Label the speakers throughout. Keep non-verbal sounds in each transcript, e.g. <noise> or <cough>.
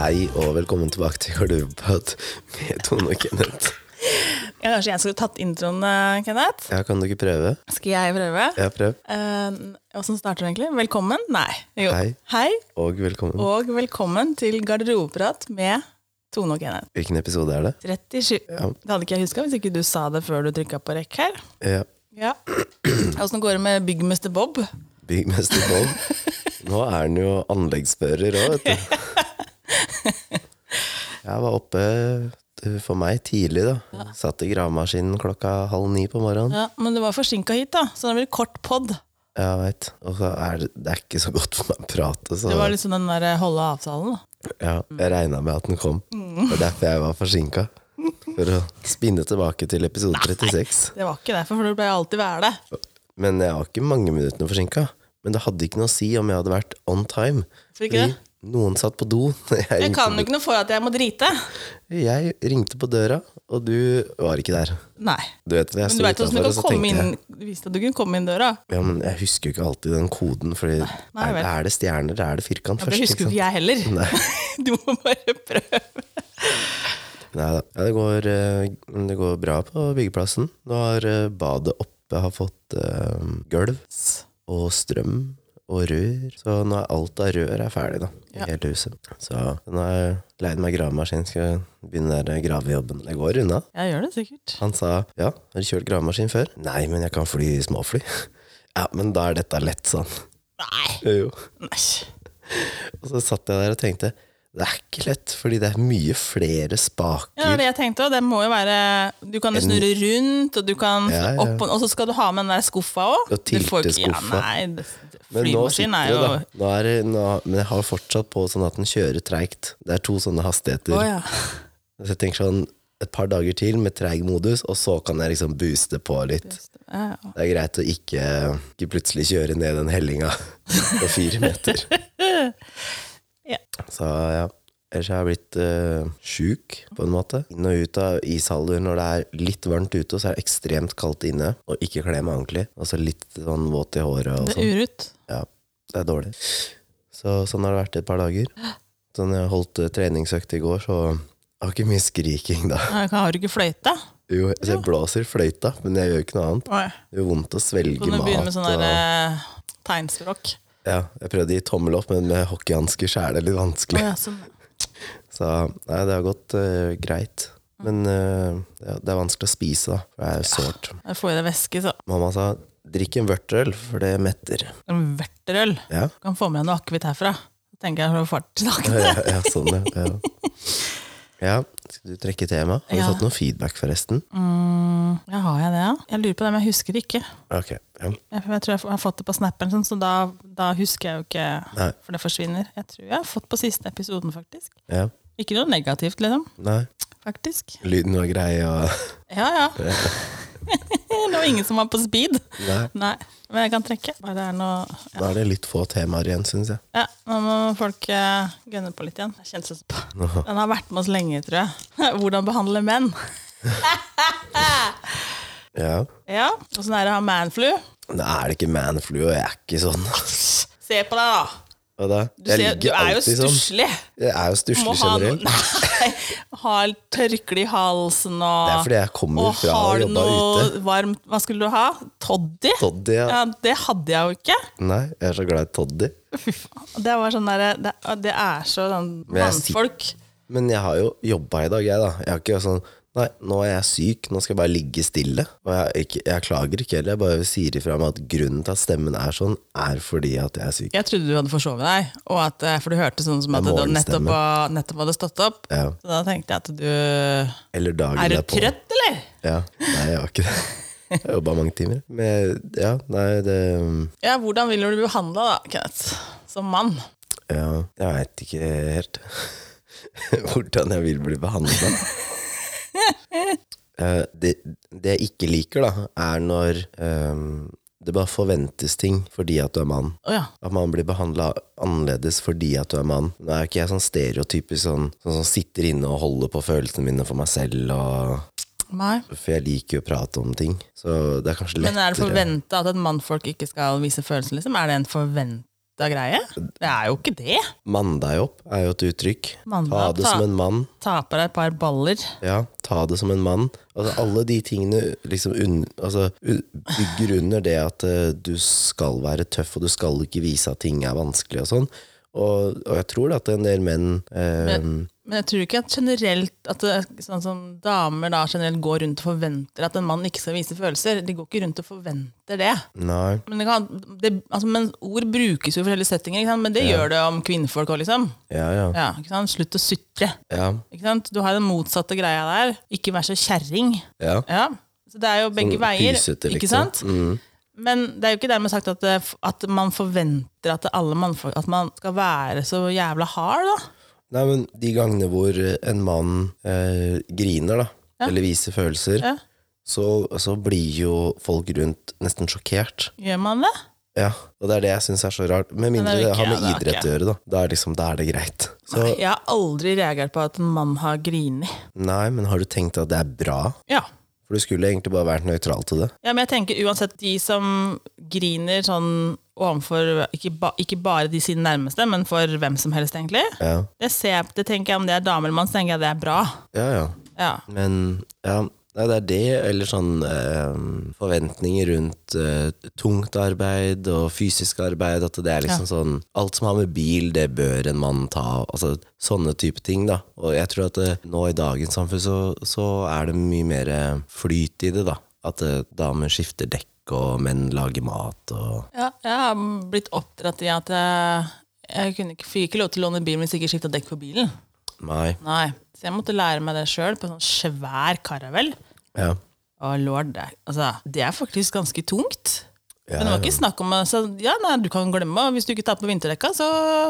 Speaker 1: Hei og velkommen tilbake til Garderobepod med Tone og Kenneth.
Speaker 2: Ja, kanskje jeg skulle tatt introen, eh, Kenneth?
Speaker 1: Ja, kan du ikke prøve?
Speaker 2: Skal jeg prøve?
Speaker 1: Ja, prøv.
Speaker 2: Eh, Åssen starter det egentlig? Velkommen? Nei. Jo.
Speaker 1: Hei. Og velkommen.
Speaker 2: og velkommen til Garderobeprat med Tone og Kenneth.
Speaker 1: Hvilken episode er det?
Speaker 2: 37.
Speaker 1: Ja.
Speaker 2: Det hadde ikke jeg huska hvis ikke du sa det før du trykka på rekk her.
Speaker 1: ja.
Speaker 2: Ja. Åssen går det med byggmester Bob?
Speaker 1: Byggmester Bob. Nå er han jo anleggsfører òg, vet du. Jeg var oppe du, for meg tidlig, da. Satt i gravemaskinen klokka halv ni på morgenen.
Speaker 2: Ja, Men du var forsinka hit, da, så det blir kort pod.
Speaker 1: Ja, veit. Og så er det, det er ikke så godt for meg å prate, så
Speaker 2: Det var liksom den der holde avtalen. da.
Speaker 1: Ja, jeg regna med at den kom.
Speaker 2: Mm.
Speaker 1: Det er derfor jeg var forsinka. For å spinne tilbake til episode 36.
Speaker 2: Det var ikke derfor, for du pleier alltid være det.
Speaker 1: Men jeg var ikke mange minuttene forsinka. Men det hadde ikke noe å si om jeg hadde vært on time.
Speaker 2: Hvorfor ikke det?
Speaker 1: noen satt på do. <laughs> Jeg,
Speaker 2: Jeg
Speaker 1: ringte
Speaker 2: kan
Speaker 1: på-
Speaker 2: jo ikke noe for at jeg må drite.
Speaker 1: jeg ringte på døra, og du var ikke der.
Speaker 2: Nei.
Speaker 1: Du vet det, jeg
Speaker 2: Men
Speaker 1: sto
Speaker 2: du veit åssen
Speaker 1: utenfor,
Speaker 2: du
Speaker 1: og
Speaker 2: kan
Speaker 1: så
Speaker 2: komme
Speaker 1: tenkte
Speaker 2: inn
Speaker 1: jeg
Speaker 2: Du visste at du kunne komme inn døra.
Speaker 1: Ja, men jeg husker jo ikke alltid den koden, Fordi
Speaker 2: nei
Speaker 1: er,
Speaker 2: vel.
Speaker 1: er det stjerner, er det firkant
Speaker 2: Ja,
Speaker 1: først?
Speaker 2: det husker jo ikke jeg heller.
Speaker 1: Nei.
Speaker 2: <laughs> Du må bare prøve.
Speaker 1: Neida. Ja, det, går, eh, det går bra på byggeplassen. Nå har eh, badet oppe har fått eh, gulv og strøm og rør. Så nå er alt av rør er ferdig, da. I
Speaker 2: Ja.
Speaker 1: hele huset. Så nå har jeg leid meg gravemaskin, skal begynne der gravejobben. Det går unna.
Speaker 2: Jeg gjør det sikkert.
Speaker 1: Han sa ja, har du kjørt gravemaskin før? Nei, men jeg kan fly i småfly. <laughs> Ja, men da er dette lett, sånn.
Speaker 2: Nei.
Speaker 1: <laughs> Jo.
Speaker 2: Nei.
Speaker 1: Og så satt jeg der og tenkte det er ikke lett, fordi det er mye flere spaker.
Speaker 2: Ja, det var det jeg tenkte også. Det må jo være Du kan jo snurre rundt, og du kan
Speaker 1: Ja, ja.
Speaker 2: opp og Og så skal du ha med den der skuffa òg.
Speaker 1: Og tilteskuffa.
Speaker 2: nei, det-
Speaker 1: Men nå
Speaker 2: flymaskin
Speaker 1: sitter
Speaker 2: er
Speaker 1: det,
Speaker 2: jo
Speaker 1: da. Nå er det, nå, men jeg har fortsatt på sånn at den kjører treigt. Det er to sånne hastigheter.
Speaker 2: Å ja.
Speaker 1: Så jeg tenker sånn et par dager til med treig modus, og så kan jeg liksom booste på litt.
Speaker 2: Ja, ja.
Speaker 1: Det er greit å ikke, ikke plutselig kjøre ned den hellinga <laughs> på fire meter.
Speaker 2: <laughs> Ja.
Speaker 1: Så ja. Ellers har jeg blitt uh, sjuk, på en måte. Inn og ut av ishaller når det er litt varmt ute, og så er det ekstremt kaldt inne. Og ikke kle meg ordentlig. Og så litt sånn våt i håret og
Speaker 2: Det
Speaker 1: sånn.
Speaker 2: er urut.
Speaker 1: Ja, det er dårlig. Så sånn har det vært et par dager. Så når jeg holdt eh, treningsøkt i går, så har ikke mye skriking da.
Speaker 2: Nei, Har du ikke fløyte?
Speaker 1: Jo, så jeg blåser fløyta, men jeg gjør ikke noe annet.
Speaker 2: Oi.
Speaker 1: Det gjør vondt å
Speaker 2: Så
Speaker 1: svelge
Speaker 2: Kan du begynne med
Speaker 1: mat.
Speaker 2: sånn
Speaker 1: Og,
Speaker 2: der eh, tegnspråk?
Speaker 1: ja, jeg prøvde å gi tommel opp, men med hockeyhansker så er det litt
Speaker 2: Å
Speaker 1: vanskelig.
Speaker 2: ja, sånn.
Speaker 1: Så nei, det har gått eh, greit.
Speaker 2: Mm.
Speaker 1: Men eh, det er- det er vanskelig å spise, da. For det er jo sårt.
Speaker 2: Jeg får i deg væske, så.
Speaker 1: Mamma sa drikk en vørterøl, for det metter.
Speaker 2: En verterøl.
Speaker 1: Ja,
Speaker 2: Du kan få med deg noe akevitt herfra. Så tenker jeg på fart til dag.
Speaker 1: ja, ja sånn, ja. ja. Ja, Skal du trekke tema? Har du
Speaker 2: Ja.
Speaker 1: fått noe feedback, forresten?
Speaker 2: Mm, ja, har jeg det, ja? Jeg lurer på det, men jeg husker det ikke.
Speaker 1: Ok, ja.
Speaker 2: Jeg, jeg tror jeg har fått det på snappen, sånn, så da, da husker jeg jo ikke.
Speaker 1: Nei.
Speaker 2: For det forsvinner. Jeg tror jeg har fått på siste episoden, faktisk.
Speaker 1: ja.
Speaker 2: Ikke noe negativt, liksom.
Speaker 1: Nei,
Speaker 2: Faktisk.
Speaker 1: lyden var grei og
Speaker 2: Ja, ja. <laughs> det var ingen som var på speed.
Speaker 1: Nei,
Speaker 2: Nei. Men jeg kan trekke. Bare det er noe ja.
Speaker 1: da er det litt få temaer igjen, syns jeg.
Speaker 2: ja, nå må folk eh, gønne på litt igjen. Jeg kjente sånn på. Den har vært med oss lenge, tror jeg. <laughs> Hvordan behandle menn.
Speaker 1: Ja.
Speaker 2: Ja. Åssen er det å ha manflu?
Speaker 1: Nå er det ikke manflu, og jeg er ikke sånn.
Speaker 2: Se på deg, da.
Speaker 1: Hva da?
Speaker 2: Du, ser, du er jo
Speaker 1: sånn.
Speaker 2: stusslig.
Speaker 1: Jeg er jo
Speaker 2: Må
Speaker 1: stusslig
Speaker 2: ha noe
Speaker 1: generelt.
Speaker 2: Nei! Ha tørkle i halsen og
Speaker 1: Det er fordi jeg kommer
Speaker 2: Og
Speaker 1: fra å
Speaker 2: har du
Speaker 1: jobbe
Speaker 2: noe
Speaker 1: ute.
Speaker 2: varmt Hva skulle du ha? Toddy?
Speaker 1: Toddy, ja.
Speaker 2: Ja, det hadde jeg jo ikke.
Speaker 1: Nei, jeg er så glad i Toddy.
Speaker 2: Fy faen. Det var sånn der, det, det er så sånn
Speaker 1: Men jeg sier-
Speaker 2: mannfolk.
Speaker 1: Men jeg har jo jobba i dag, jeg, da. Jeg har ikke sånn Nei, nå er jeg syk, nå skal jeg bare ligge stille. Og jeg, er ikke, jeg klager ikke heller, jeg bare sier ifra meg at grunnen til at stemmen er sånn, er fordi at jeg er syk.
Speaker 2: Jeg trodde du hadde forsovet deg, og at, eh, for du hørte sånn som at
Speaker 1: Det
Speaker 2: du
Speaker 1: er
Speaker 2: nettopp, var- nettopp hadde stått opp.
Speaker 1: Ja.
Speaker 2: Så da tenkte jeg at du Er
Speaker 1: Eller dagen
Speaker 2: du
Speaker 1: derpå.
Speaker 2: trøtt, eller?
Speaker 1: Ja. Nei, jeg var ikke det. Jeg jobba mange timer. Men ja, nei, det um,
Speaker 2: Ja, hvordan vil du bli behandla da, Kenneth? Som mann?
Speaker 1: Ja, jeg veit ikke helt <laughs> hvordan jeg vil bli behandla. <laughs> Det, det jeg ikke liker, da, er når eh, det bare forventes ting fordi at du er mann.
Speaker 2: Å ja.
Speaker 1: At man blir behandla annerledes fordi at du er mann. Nå er jo ikke jeg sånn stereotypisk sånn, sånn som sitter inne og holder på følelsene mine for meg selv. Og,
Speaker 2: Nei.
Speaker 1: for jeg liker jo å prate om ting. Så det er kanskje
Speaker 2: Men
Speaker 1: lettere.
Speaker 2: er det forventa at et mannfolk ikke skal vise følelser, liksom? Er det en forventa lukta greie. Det er jo ikke det.
Speaker 1: Mann deg opp er jo et uttrykk.
Speaker 2: Mann deg
Speaker 1: ta
Speaker 2: opp,
Speaker 1: det
Speaker 2: ta-
Speaker 1: som en mann.
Speaker 2: Taper deg et par baller.
Speaker 1: Ja, ta det som en mann. Altså, alle de tingene liksom un, altså, u- bygger under det at eh, du skal være tøff, og du skal ikke vise at ting er vanskelig og sånn. Og, og jeg tror at en del menn eh,
Speaker 2: Men jeg tror ikke at generelt at det, er sånn som damer da generelt går rundt og forventer at en mann ikke skal vise følelser. De går ikke rundt og forventer det.
Speaker 1: Nei.
Speaker 2: Men, det kan, det, altså, men ord brukes jo i forskjellige settinger, ikke sant? men det gjør det om kvinnfolk òg, liksom.
Speaker 1: Ja, ja.
Speaker 2: Ja, ikke sant? Slutt å sutre.
Speaker 1: Ja.
Speaker 2: Ikke sant? Du har den motsatte greia der. Ikke vær så kjerring.
Speaker 1: ja.
Speaker 2: Ja. Så det er jo begge
Speaker 1: Sånn
Speaker 2: veier.
Speaker 1: pysete, liksom.
Speaker 2: Ikke sant? Men det er jo ikke dermed sagt at, det, at man forventer at alle mannfolk At man skal være så jævla hard, da.
Speaker 1: Nei, men de gangene hvor eh, en mann eh, griner, da, eller viser følelser,
Speaker 2: Ja.
Speaker 1: så, så blir jo folk rundt nesten sjokkert.
Speaker 2: Gjør man det?
Speaker 1: Ja, og det er det jeg syns er så rart. Med mindre
Speaker 2: det er
Speaker 1: det,
Speaker 2: jo
Speaker 1: har
Speaker 2: ikke-
Speaker 1: med
Speaker 2: det er
Speaker 1: idrett
Speaker 2: ikke-
Speaker 1: å gjøre, da. Da er, liksom, da er det greit. Så
Speaker 2: Jeg har aldri reagert på at en mann har grini.
Speaker 1: nei, men har du tenkt at det er bra?
Speaker 2: Ja.
Speaker 1: For du skulle egentlig bare vært nøytral til det.
Speaker 2: ja, men jeg tenker uansett de som griner sånn overfor ikke, ba, ikke bare de sine nærmeste, men for hvem som helst, egentlig.
Speaker 1: Ja,
Speaker 2: Det, ser, jeg- det tenker jeg Om det er dame eller mann, så tenker jeg det er bra.
Speaker 1: ja. ja.
Speaker 2: Ja.
Speaker 1: Men ja, nei, det er det, eller sånn eh, forventninger rundt eh, tungt arbeid og fysisk arbeid, at det er liksom sånn Alt som har med bil, det bør en mann ta. Altså sånne type ting, da. Og jeg tror at eh, nå i dagens samfunn så, så er det mye mer eh, flyt i det, da. At eh, damer skifter dekk, og menn lager mat og
Speaker 2: Ja, jeg har blitt oppdratt i at jeg, jeg kunne ikke, fikk ikke lov til å låne bilen hvis jeg ikke skifta dekk på bilen.
Speaker 1: Nei.
Speaker 2: Nei, Så jeg måtte lære meg det sjøl, på en sånn svær karavell.
Speaker 1: Ja.
Speaker 2: Å lord, det, altså, det er faktisk ganske tungt.
Speaker 1: Ja,
Speaker 2: Men det var ikke snakk om altså, ja, nei, du kan glemme, og hvis du ikke tar på vinterdekka, så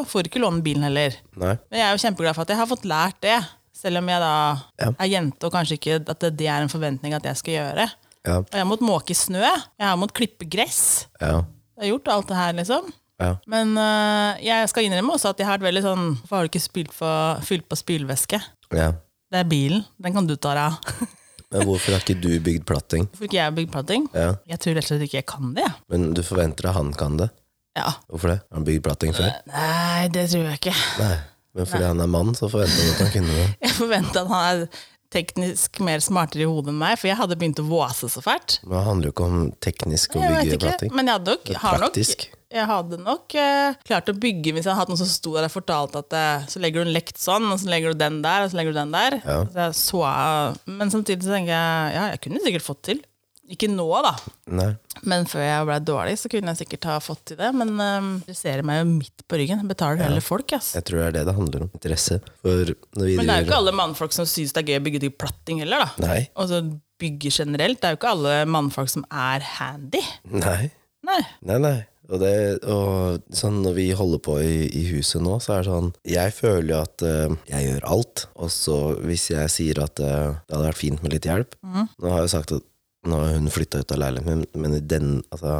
Speaker 2: får du ikke låne bilen heller.
Speaker 1: Nei.
Speaker 2: Men jeg er jo kjempeglad for at jeg har fått lært det, selv om jeg da
Speaker 1: Ja.
Speaker 2: er jente og kanskje ikke at det, det er en forventning at jeg skal gjøre.
Speaker 1: Ja.
Speaker 2: Og jeg har måttet måke snø, jeg har måttet klippe gress.
Speaker 1: Ja.
Speaker 2: Jeg har gjort alt det her, liksom.
Speaker 1: Ja.
Speaker 2: Men øh, jeg skal innrømme også at jeg har vært veldig sånn Hvorfor har du ikke spilt på, fylt på spylvæske?
Speaker 1: ja.
Speaker 2: Det er bilen. Den kan du ta deg av. <laughs>
Speaker 1: Men hvorfor har ikke du bygd platting?
Speaker 2: Hvorfor ikke jeg bygd platting?
Speaker 1: Ja.
Speaker 2: Jeg tror rett og slett ikke jeg kan det. jeg.
Speaker 1: Men du forventer at han kan det?
Speaker 2: Ja.
Speaker 1: Hvorfor det? Har han bygd platting før?
Speaker 2: Nei, det tror jeg ikke. <laughs>
Speaker 1: Nei, men fordi han er mann, så forventer han at han kunne det.
Speaker 2: Jeg forventa at han er teknisk mer smartere i hodet enn meg, for jeg hadde begynt å våse så fælt.
Speaker 1: Men det handler jo ikke om teknisk å
Speaker 2: Jeg vet
Speaker 1: bygge
Speaker 2: ikke,
Speaker 1: platting.
Speaker 2: men jeg hadde nok,
Speaker 1: Det er
Speaker 2: har nok,
Speaker 1: praktisk.
Speaker 2: jeg hadde nok eh, klart å bygge hvis jeg hadde hatt noen som sto der og fortalte at eh, så legger du en lekt sånn, og så legger du den der, og så legger du den der.
Speaker 1: Ja.
Speaker 2: Så jeg så, men samtidig så tenker jeg ja, jeg kunne sikkert fått til. Ikke nå, da,
Speaker 1: Nei.
Speaker 2: men før jeg ble dårlig, så kunne jeg sikkert ha fått til det. Men eh, det ser meg jo midt på ryggen. Jeg betaler heller folk, ass.
Speaker 1: Jeg tror det er det det handler om. Interesse. For når vi
Speaker 2: Men det er jo
Speaker 1: driver
Speaker 2: ikke alle mannfolk som syns det er gøy å bygge til platting heller, da.
Speaker 1: Nei.
Speaker 2: Og så bygge generelt. Det er jo ikke alle mannfolk som er handy.
Speaker 1: Nei.
Speaker 2: Nei.
Speaker 1: Nei, nei. Og, det, og sånn når vi holder på i, i huset nå, så er det sånn Jeg føler jo at eh, jeg gjør alt. Og så hvis jeg sier at eh, det hadde vært fint med litt hjelp
Speaker 2: Mhm.
Speaker 1: Nå har jeg sagt at nå har hun flytta ut av leiligheten, men, men i den altså,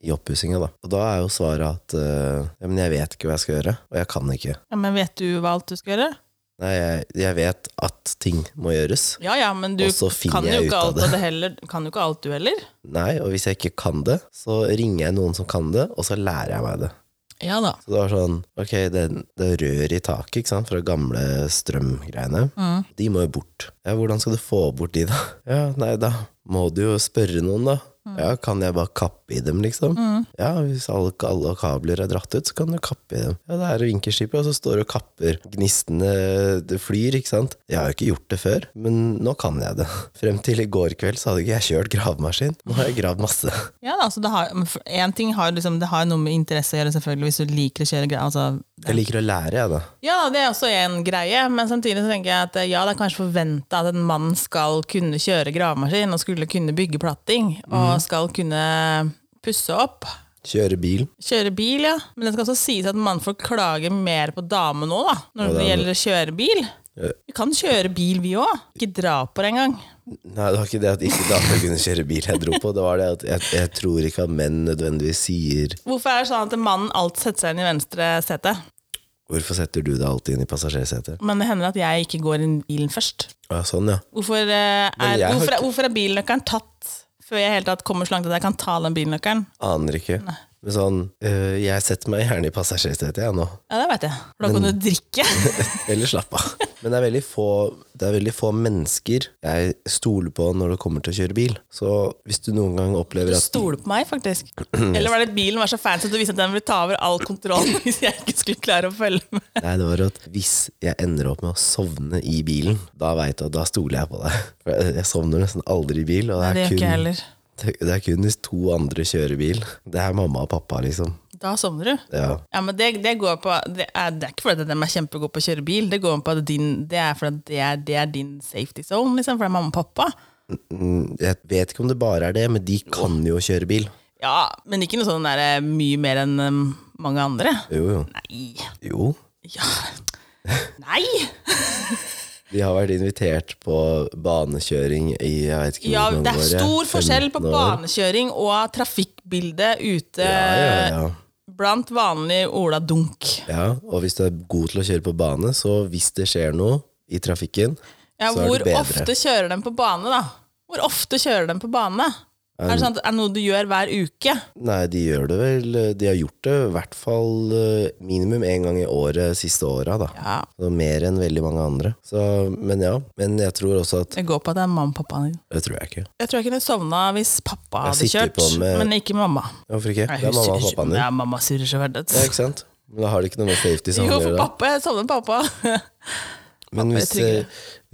Speaker 1: i oppussinga, da. Og da er jo svaret at eh, ja, men jeg vet ikke hva jeg skal gjøre, og jeg kan ikke.
Speaker 2: Ja, men vet du hva alt du skal gjøre?
Speaker 1: Nei, jeg, jeg vet at ting må gjøres.
Speaker 2: Ja ja, men du
Speaker 1: Og så finner
Speaker 2: kan jo
Speaker 1: jeg ut
Speaker 2: ikke
Speaker 1: av
Speaker 2: alt
Speaker 1: det.
Speaker 2: av det heller. Kan jo ikke alt du heller.
Speaker 1: Nei, og hvis jeg ikke kan det, så ringer jeg noen som kan det, og så lærer jeg meg det.
Speaker 2: Ja da.
Speaker 1: Så det var sånn, ok, det, det rør i taket, ikke sant, fra gamle strømgreiene. De må jo bort. Ja, hvordan skal du få bort de da? <laughs> Ja, nei, da må du jo spørre noen da. Ja, kan jeg bare kappe i dem liksom? Ja, hvis alle, alle kabler er dratt ut, så kan du kappe i dem. Ja, det er vinkerskipet, og så står du og kapper. Gnistene det flyr, ikke sant? Jeg har jo ikke gjort det før, men nå kan jeg det. <laughs> Frem til i går kveld så hadde ikke jeg kjørt gravemaskin. Nå har jeg gravd masse.
Speaker 2: Ja da, så det har, men for- en ting har jo liksom, det har jo noe med interesse å gjøre, selvfølgelig, hvis du liker å kjøre greier. Altså,
Speaker 1: Jeg liker å lære, jeg da.
Speaker 2: ja da, det er også en greie, men samtidig så tenker jeg at eh, ja, det er kanskje forventa at en mann skal kunne kjøre gravemaskin, og skulle kunne bygge platting, og skal kunne pusse opp.
Speaker 1: Kjøre bil.
Speaker 2: Kjøre bil, ja. Men det skal også sies at mannfolk klager mer på damer nå, da. Når det gjelder å kjøre bil.
Speaker 1: Ja.
Speaker 2: Vi kan kjøre bil, vi òg. Ikke dra på det engang.
Speaker 1: Nei, det var ikke det at ikke damer kunne kjøre bil jeg dro på. Det var det at jeg, jeg tror ikke at menn nødvendigvis sier
Speaker 2: Hvorfor er det sånn at mannen alltid setter seg inn i venstre sete?
Speaker 1: 'Hvorfor setter du deg alltid inn i passasjersetet?'
Speaker 2: Men det hender at jeg ikke går inn i bilen først.
Speaker 1: Ja, sånn, ja.
Speaker 2: Hvorfor, eh,
Speaker 1: Men
Speaker 2: er,
Speaker 1: jeg har
Speaker 2: hvorfor,
Speaker 1: ikke-
Speaker 2: hvorfor er bilnøkkelen tatt før jeg i hele tatt kommer så langt at jeg kan ta den bilnøkkelen?
Speaker 1: Aner ikke. Men Men sånn, øh, jeg setter meg gjerne i passasjersetet jeg nå, <laughs>
Speaker 2: Ja, det veit jeg. For da kan du drikke.
Speaker 1: eller slapp av. Men det er, veldig få, det er veldig få mennesker jeg stoler på når det kommer til å kjøre bil. Så hvis du noen gang
Speaker 2: Du
Speaker 1: opplever at
Speaker 2: stoler på meg,
Speaker 1: <clears throat>
Speaker 2: faktisk. Eller var det bilen var så fancy at du visste at den ville ta over all kontroll <laughs> hvis jeg ikke skulle klare å følge med?
Speaker 1: Nei, det var at hvis jeg ender opp med å sovne i bilen, da veit du at da stoler jeg på deg. For jeg- jeg sovner nesten aldri i bil, og det
Speaker 2: Det
Speaker 1: er,
Speaker 2: gjør ikke jeg
Speaker 1: kun,
Speaker 2: heller.
Speaker 1: det er kun hvis to andre kjører bil. Det er mamma og pappa, liksom.
Speaker 2: Da sovner du.
Speaker 1: Ja.
Speaker 2: Ja, men det, det går på det er, det er ikke fordi at de er kjempegode på å kjøre bil, det går på at din, det er fordi at det er, det er din safety zone, liksom, for det er mamma og pappa.
Speaker 1: Mm, Jeg vet ikke om det bare er det, men de kan jo kjøre bil.
Speaker 2: Ja, men ikke noe sånn der eh, mye mer enn eh, mange andre.
Speaker 1: Jo, jo.
Speaker 2: Nei.
Speaker 1: Jo.
Speaker 2: Ja. Nei!
Speaker 1: De har vært invitert på banekjøring i jeg vet ikke
Speaker 2: Ja,
Speaker 1: hvor mange
Speaker 2: det
Speaker 1: år, jeg.
Speaker 2: er stor forskjell på
Speaker 1: 15 år.
Speaker 2: banekjøring og trafikkbildet ute
Speaker 1: Ja, ja, ja.
Speaker 2: blant vanlig Ola Dunk.
Speaker 1: ja, og hvis du er god til å kjøre på bane, så hvis det skjer noe i trafikken,
Speaker 2: Ja,
Speaker 1: så er
Speaker 2: hvor
Speaker 1: det bedre.
Speaker 2: ofte kjører de på bane, da? Hvor ofte kjører de på bane? Er det, sånn at, er det noe du gjør hver uke?
Speaker 1: Nei, de gjør det vel. De har gjort det i hvert fall eh, minimum én gang i året siste åra, da.
Speaker 2: Ja,
Speaker 1: Så mer enn veldig mange andre. Så, men ja. Men jeg tror også at
Speaker 2: Det går på at det er mamma og pappaen din.
Speaker 1: Det tror jeg ikke.
Speaker 2: Jeg tror jeg kunne sovna hvis pappa hadde
Speaker 1: Jeg sitter
Speaker 2: kjørt,
Speaker 1: på med-
Speaker 2: men ikke mamma.
Speaker 1: Hvorfor ikke?
Speaker 2: Nei,
Speaker 1: Det er
Speaker 2: hun
Speaker 1: mamma og
Speaker 2: surrer-
Speaker 1: pappaen din.
Speaker 2: Ja, mamma surrer så veldig.
Speaker 1: Ja, ikke sant? Men da har de ikke noe med safety sammen
Speaker 2: <laughs> Jo,
Speaker 1: å
Speaker 2: for
Speaker 1: gjøre. da.
Speaker 2: pappa, jeg sovner pappa. <laughs>
Speaker 1: Men
Speaker 2: pappa er
Speaker 1: hvis,
Speaker 2: tryggere.
Speaker 1: eh,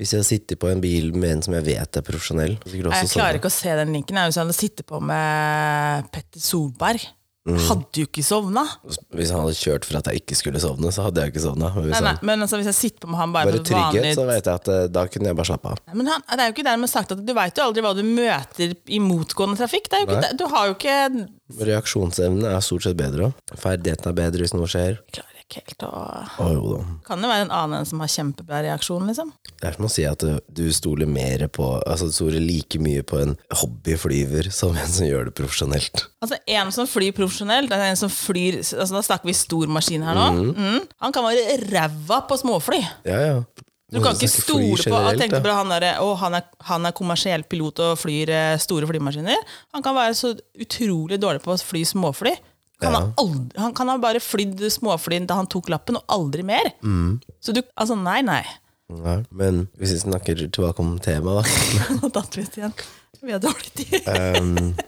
Speaker 1: hvis jeg sitter på en bil med en som jeg vet er profesjonell så sikkert også
Speaker 2: Jeg
Speaker 1: sånn.
Speaker 2: klarer ikke å se den linken. Jeg hadde sittet på med Petter Solberg.
Speaker 1: Mm.
Speaker 2: Hadde jo ikke sovna.
Speaker 1: Hvis han hadde kjørt for at jeg ikke skulle sovne, så hadde jeg ikke sovna. Men hvis
Speaker 2: Nei, nei,
Speaker 1: han
Speaker 2: men altså, hvis jeg sitter på med han bare,
Speaker 1: bare
Speaker 2: på et
Speaker 1: trygghet,
Speaker 2: vanlig
Speaker 1: så vet jeg at eh, da kunne jeg bare slappe av.
Speaker 2: Nei, Men han, det er jo ikke dermed sagt at du veit jo aldri hva du møter i motgående trafikk. Det er jo ikke,
Speaker 1: Nei.
Speaker 2: det- du har jo ikke
Speaker 1: Reaksjonsevnen er stort sett bedre òg. Ferdigheten er bedre hvis noe skjer.
Speaker 2: Klarer ikke helt å
Speaker 1: Å jo da.
Speaker 2: Kan jo være en annen enn som har kjempebra reaksjon, liksom.
Speaker 1: Det er som å si at du- du stoler mer på Altså du stoler like mye på en hobbyflyver som en som gjør det profesjonelt.
Speaker 2: Altså En som flyr profesjonelt, det er en som flyr altså Da snakker vi stor maskin her nå. Mm. Han kan være ræva på småfly.
Speaker 1: Ja, ja.
Speaker 2: Du kan ikke stole på at tenkte bare han, der, å, han, er, han er kommersiell pilot og flyr eh, store flymaskiner. Han kan være så utrolig dårlig på å fly småfly. Kan han, aldri, han kan ha bare flydd småfly da han tok lappen, og aldri mer. Så du Altså, nei, nei. <laughs>
Speaker 1: ja, Men hvis vi snakker tilbake om temaet, da.
Speaker 2: Nå datt vi ut igjen. Vi har dårlig tid.
Speaker 1: Ehm, jeg,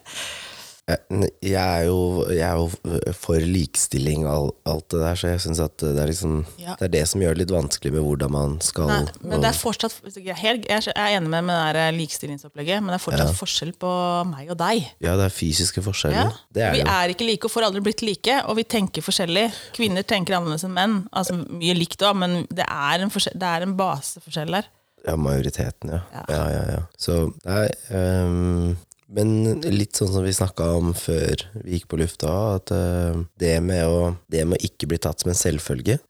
Speaker 1: Eh, jeg, er jo, jeg er jo for likestilling og all- alt det der, så jeg syns at det er liksom
Speaker 2: Ja.
Speaker 1: Det er det som gjør det litt vanskelig med hvordan man skal
Speaker 2: Nei, men det er fortsatt Jeg er helt- jeg er enig med, med det der likestillingsopplegget, men det er fortsatt forskjell på meg og deg.
Speaker 1: Ja, det er fysiske
Speaker 2: Ja.
Speaker 1: forskjeller. Det er
Speaker 2: vi
Speaker 1: det jo.
Speaker 2: er ikke like og får aldri blitt like, og vi tenker forskjellig. Kvinner tenker annerledes enn menn. Altså Mye likt òg, men det er, en forskjell- det er en baseforskjell der.
Speaker 1: Ja, majoriteten, ja.
Speaker 2: Ja.
Speaker 1: Ja, ja, ja. Så, nei, ehm, men litt sånn som vi snakka om før vi gikk på lufta, at eh, det, med å, det med å ikke bli tatt som en selvfølge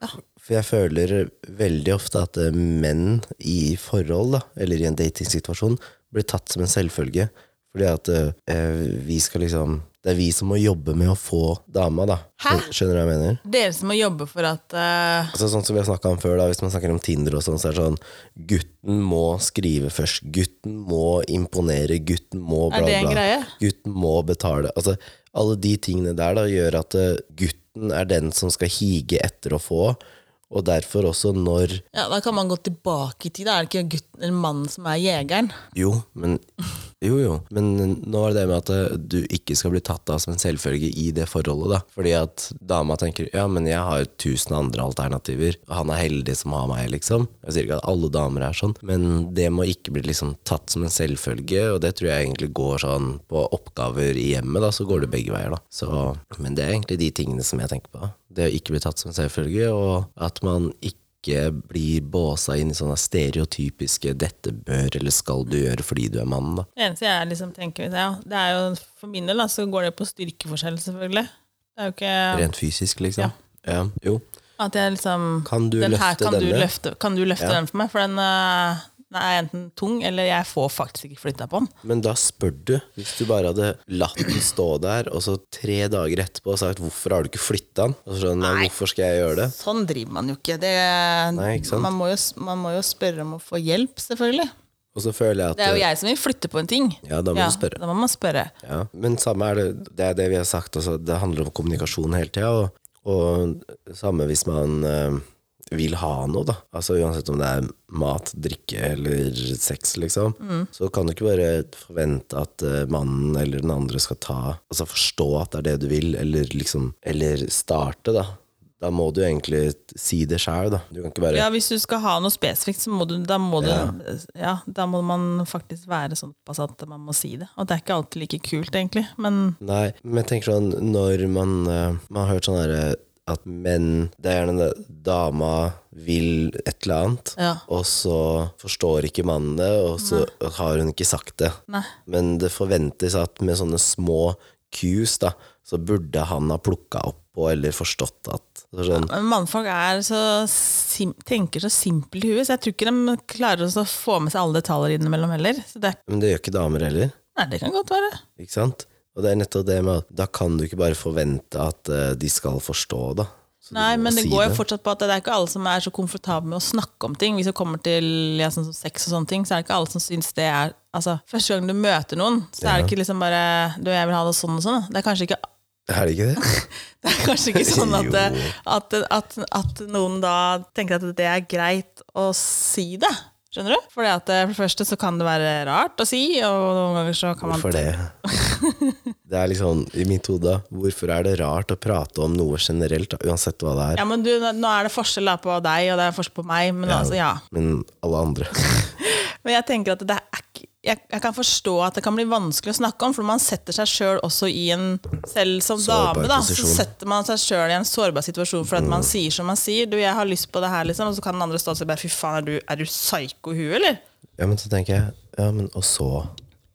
Speaker 1: For jeg føler veldig ofte at eh, menn i forhold, da, eller i en datingsituasjon, blir tatt som en selvfølge. Fordi at eh, vi skal liksom Det er vi som må jobbe med å få dama, da.
Speaker 2: Hæ?
Speaker 1: Skjønner du hva jeg mener?
Speaker 2: Dere som må jobbe for at eh,
Speaker 1: Altså, sånn som vi har snakket om før, da, hvis man snakker om Tinder og sånn, så er det sånn Gutten må skrive først. Gutten må imponere. Gutten må bla,
Speaker 2: Er det en
Speaker 1: bla.
Speaker 2: greie?
Speaker 1: Gutten må betale. Altså, alle de tingene der da gjør at eh, gutten er den som skal hige etter å få, og derfor også når
Speaker 2: ja, Da kan man gå tilbake i tid. Da er det ikke gutten eller mannen som er jegeren.
Speaker 1: Jo, men Jo, jo. Men nå var det det med at eh, du ikke skal bli tatt av som en selvfølge i det forholdet, da. Fordi at dama tenker ja, men jeg har jo tusen andre alternativer. Han er heldig som har meg, liksom. Jeg sier ikke at alle damer er sånn, men det må ikke bli liksom tatt som en selvfølge, og det tror jeg egentlig går sånn på oppgaver i hjemmet, da, så går det begge veier, da. Så, men det er egentlig de tingene som jeg tenker på. da. Det å ikke bli tatt som en selvfølge, og at man ikke ikke bli båsa inn i sånne stereotypiske 'dette bør eller skal du gjøre fordi du er mann', da.
Speaker 2: Det eneste jeg liksom tenker ja, det er jo, For min del da, så går det på styrkeforskjell, selvfølgelig. Det er jo ikke
Speaker 1: Rent fysisk, liksom. Ja. Jo.
Speaker 2: at jeg liksom
Speaker 1: Kan du
Speaker 2: den her
Speaker 1: løfte
Speaker 2: kan du
Speaker 1: denne?
Speaker 2: løfte, kan du løfte den for meg? For den, eh, den er enten tung, eller jeg får faktisk ikke flytta på den.
Speaker 1: Men da spør du. Hvis du bare hadde latt den stå der, og så tre dager etterpå og sagt 'hvorfor har du ikke flytta den', og så sånn, nei, hvorfor skal jeg gjøre det?
Speaker 2: Sånn driver man jo ikke. Det,
Speaker 1: Nei, ikke sant?
Speaker 2: Man, må jo, man må jo spørre om å få hjelp, selvfølgelig.
Speaker 1: Og så føler jeg at eh,
Speaker 2: Det er jo jeg som vil flytte på en ting.
Speaker 1: Ja, da må du spørre.
Speaker 2: Da må man spørre.
Speaker 1: Ja. Men samme er det, det er det vi har sagt, altså, det handler om kommunikasjon hele tida. Og, og samme hvis man eh, vil ha noe, da. Altså uansett om det er mat, drikke eller sex, liksom. Så kan du ikke bare forvente at eh, mannen eller den andre skal ta Altså forstå at det er det du vil, eller liksom Eller starte, da. Da må du egentlig si det sjæl, da. Du kan ikke bare
Speaker 2: Ja, hvis du skal ha noe spesifikt, så må du, da må du ja, da må man faktisk være såpass at man må si det. Og det er ikke alltid like kult, egentlig, men
Speaker 1: Nei, men jeg tenker sånn Når man, eh, man har hørt sånn herre at menn Det er gjerne det dama vil et eller annet,
Speaker 2: Ja.
Speaker 1: og så forstår ikke mannen det, og så har hun ikke sagt det.
Speaker 2: Nei.
Speaker 1: Men det forventes at med sånne små cues, da, så burde han ha plukka opp på eller forstått at så sånn,
Speaker 2: Men Mannfolk er så sim tenker så simpelt i huet, så jeg tror ikke de klarer å få med seg alle detaljer innimellom heller. Så det, er-
Speaker 1: Men det gjør ikke damer heller.
Speaker 2: nei, det kan godt være.
Speaker 1: Ikke sant? Og det er nettopp det med at da kan du ikke bare forvente at eh, de skal forstå, da. Så du
Speaker 2: Nei,
Speaker 1: må
Speaker 2: men det
Speaker 1: si
Speaker 2: går jo fortsatt på at det er ikke alle som er så komfortable med å snakke om ting. Hvis det kommer til ja, sånn som sex og sånne ting, så er det ikke alle som syns det er altså, Første gang du møter noen, så er det ikke liksom bare Du, jeg vil ha det sånn og sånn. Det er kanskje ikke <laughs>
Speaker 1: Er det ikke det?
Speaker 2: det er kanskje <laughs> ikke sånn at,
Speaker 1: Jo.
Speaker 2: det- at, at, at noen da tenker at det er greit å si det. Skjønner du? Fordi at eh, For det første så kan det være rart å si, og noen ganger så kan man
Speaker 1: Hvorfor det?
Speaker 2: <laughs>
Speaker 1: Det er liksom, i mitt hode, da, hvorfor er det rart å prate om noe generelt, da, uansett hva det er,
Speaker 2: Ja, men du, Nå er det forskjell da på deg, og det er forskjell på meg, men altså, ja.
Speaker 1: men alle andre?
Speaker 2: Men jeg tenker at det er ikke jeg, jeg kan forstå at det kan bli vanskelig å snakke om, for man setter seg sjøl også i en Selv som
Speaker 1: Sårbar
Speaker 2: dame, da, så
Speaker 1: posisjon. Mm.
Speaker 2: setter man seg sjøl i en sårbar situasjon for at man sier som man sier. Du, jeg har lyst på det her, liksom, og så kan den andre stå og si bare fy faen, er du, er du psyko i huet, eller?
Speaker 1: Ja, men så tenker jeg, ja, men og så?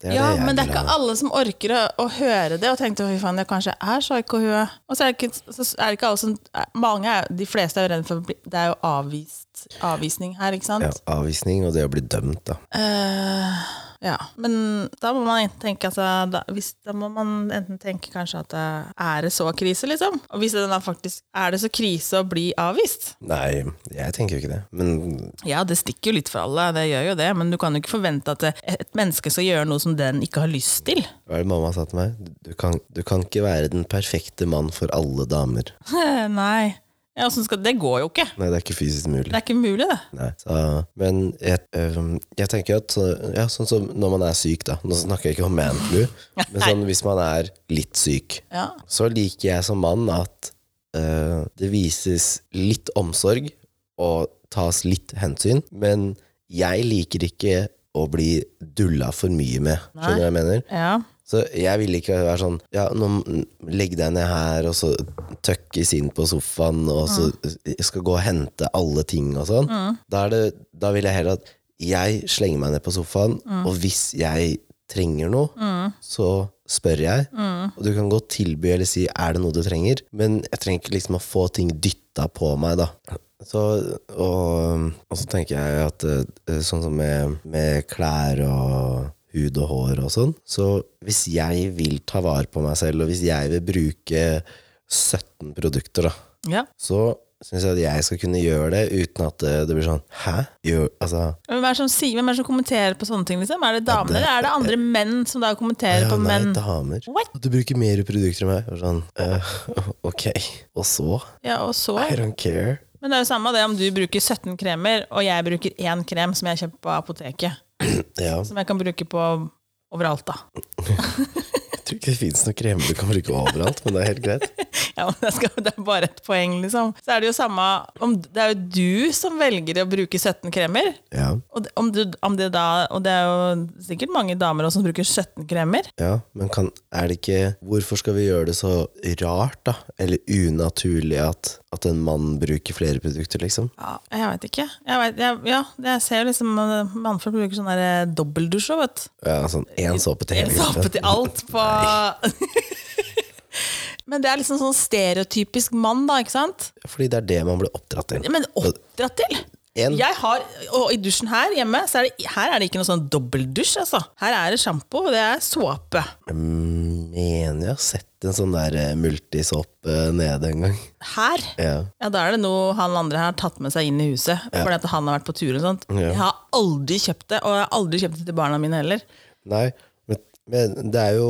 Speaker 1: Det er
Speaker 2: Ja,
Speaker 1: det jeg
Speaker 2: men det er
Speaker 1: vil
Speaker 2: ikke
Speaker 1: ha.
Speaker 2: alle som orker å, å høre det og tenkte fy faen, jeg kanskje er psykohue. Og så er det ikke, så er det ikke alle som mange er, De fleste er jo redde for å bli Det er jo avvist, avvisning her, ikke sant?
Speaker 1: Ja, avvisning og det å bli dømt, da.
Speaker 2: Eh, ja. Men da må man enten tenke altså, da, hvis, da må man enten tenke kanskje at eh, er det så krise, liksom? Og hvis det da faktisk er det så krise å bli avvist?
Speaker 1: Nei, jeg tenker jo ikke det. Men
Speaker 2: Ja, det stikker jo litt for alle, det gjør jo det, men du kan jo ikke forvente at eh, et menneske skal gjøre noe som den ikke har lyst til.
Speaker 1: hva er det mamma sa til meg? Du kan, du kan ikke være den perfekte mann for alle damer.
Speaker 2: <laughs> Nei. Ja, hvordan skal, det går jo ikke.
Speaker 1: Nei, det er ikke fysisk mulig.
Speaker 2: Det er ikke mulig, det.
Speaker 1: Nei. Så, men jeg, øhm, jeg tenker at så- ja, sånn som når man er syk, da Nå snakker jeg ikke om man flu, men sånn, hvis man er litt syk,
Speaker 2: Ja.
Speaker 1: så liker jeg som mann at øh, det vises litt omsorg og tas litt hensyn, men jeg liker ikke å bli dulla for mye med. Skjønner du hva jeg mener?
Speaker 2: ja.
Speaker 1: Så jeg ville ikke være sånn Ja, nå m- legg deg ned her, og så tøkkes inn på sofaen, og så jeg skal gå og hente alle ting og sånn. Da, er det, da vil jeg heller at jeg slenger meg ned på sofaen, og hvis jeg trenger noe, så spør jeg. Og du kan godt tilby eller si 'er det noe du trenger', men jeg trenger ikke liksom å få ting dytta på meg, da. Så, og, og så tenker jeg at eh, sånn som med, med klær og hud og hår og sånn, så hvis jeg vil ta vare på meg selv, og hvis jeg vil bruke 17 produkter, da,
Speaker 2: ja.
Speaker 1: så syns jeg at jeg skal kunne gjøre det uten at det, det blir sånn Hæ? Gjør, altså,
Speaker 2: Hvem er, det som sier, hvem er det som kommenterer på sånne ting? Liksom? Er det damer, eller er det andre menn som da kommenterer
Speaker 1: ja,
Speaker 2: på
Speaker 1: nei,
Speaker 2: menn?
Speaker 1: damer.
Speaker 2: What?
Speaker 1: Du bruker mer produkter enn meg. Og sånn, eh, ok. Og så?
Speaker 2: Ja, og så?
Speaker 1: I don't care.
Speaker 2: Men det er jo samme det om du bruker 17 kremer, og jeg bruker én krem som jeg kjøper på apoteket.
Speaker 1: Ja,
Speaker 2: Som jeg kan bruke på overalt, da. <laughs>
Speaker 1: jeg tror ikke det fins noen kremer du kan bruke overalt, men det er helt greit.
Speaker 2: Ja, men det, skal, det er bare et poeng, liksom. Så er det jo samme om Det er jo du som velger å bruke 17 kremer.
Speaker 1: Ja,
Speaker 2: Og det, om du, om det da, og det er jo sikkert mange damer også som bruker 17 kremer.
Speaker 1: Ja, men kan, er det ikke Hvorfor skal vi gjøre det så rart, da? Eller unaturlig at, at en mann bruker flere produkter, liksom?
Speaker 2: Ja, jeg veit ikke. Jeg vet, jeg, ja, jeg ser jo liksom eh, mannfolk bruker sånn der eh, dobbeltdusj òg, vet du.
Speaker 1: Ja, sånn én såpe til hele
Speaker 2: Såpe
Speaker 1: kroppen.
Speaker 2: til alt på <laughs> Men det er liksom sånn stereotypisk mann, da, ikke sant?
Speaker 1: Fordi det er det man blir oppdratt til.
Speaker 2: Men oppdratt til?
Speaker 1: En-
Speaker 2: Jeg har, og I dusjen her hjemme så er det, her er det ikke noe sånn dobbeltdusj. Altså. Her er det sjampo, og det er såpe.
Speaker 1: Jeg mener jeg har sett en sånn der eh, multisåpe nede en gang.
Speaker 2: Her?
Speaker 1: Ja.
Speaker 2: Ja, Da er det noe han andre her har tatt med seg inn i huset. Fordi at han har vært på tur og sånt.
Speaker 1: Ja.
Speaker 2: Jeg har aldri kjøpt det, og jeg har aldri kjøpt det til barna mine heller.
Speaker 1: Nei, men, men det er jo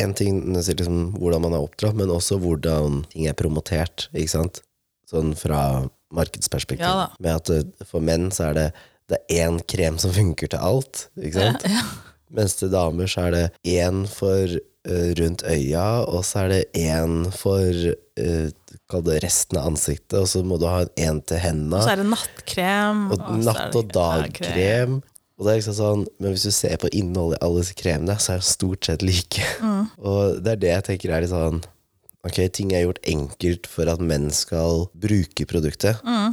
Speaker 1: én ting liksom, hvordan man er oppdratt, men også hvordan ting er promotert. ikke sant? Sånn fra markedsperspektiv.
Speaker 2: Ja da.
Speaker 1: med at eh, for menn så er det, det er én krem som <laughs> funker til alt. ikke sant?
Speaker 2: Ja.
Speaker 1: Mens til damer så er det én for eh, rundt øya, og så er det én for eh, Kall det resten av ansiktet, og så må du ha én til henda.
Speaker 2: Så er det nattkrem.
Speaker 1: Og
Speaker 2: Mm, så er
Speaker 1: natt-
Speaker 2: det
Speaker 1: og dagkrem. Og det er liksom sånn, men hvis du ser på innholdet i alle disse kremene, så er de stort sett like.
Speaker 2: Mm.
Speaker 1: <laughs> Og det er det jeg tenker er litt sånn Ok, ting er gjort enkelt for at menn skal bruke produktet.
Speaker 2: Mm.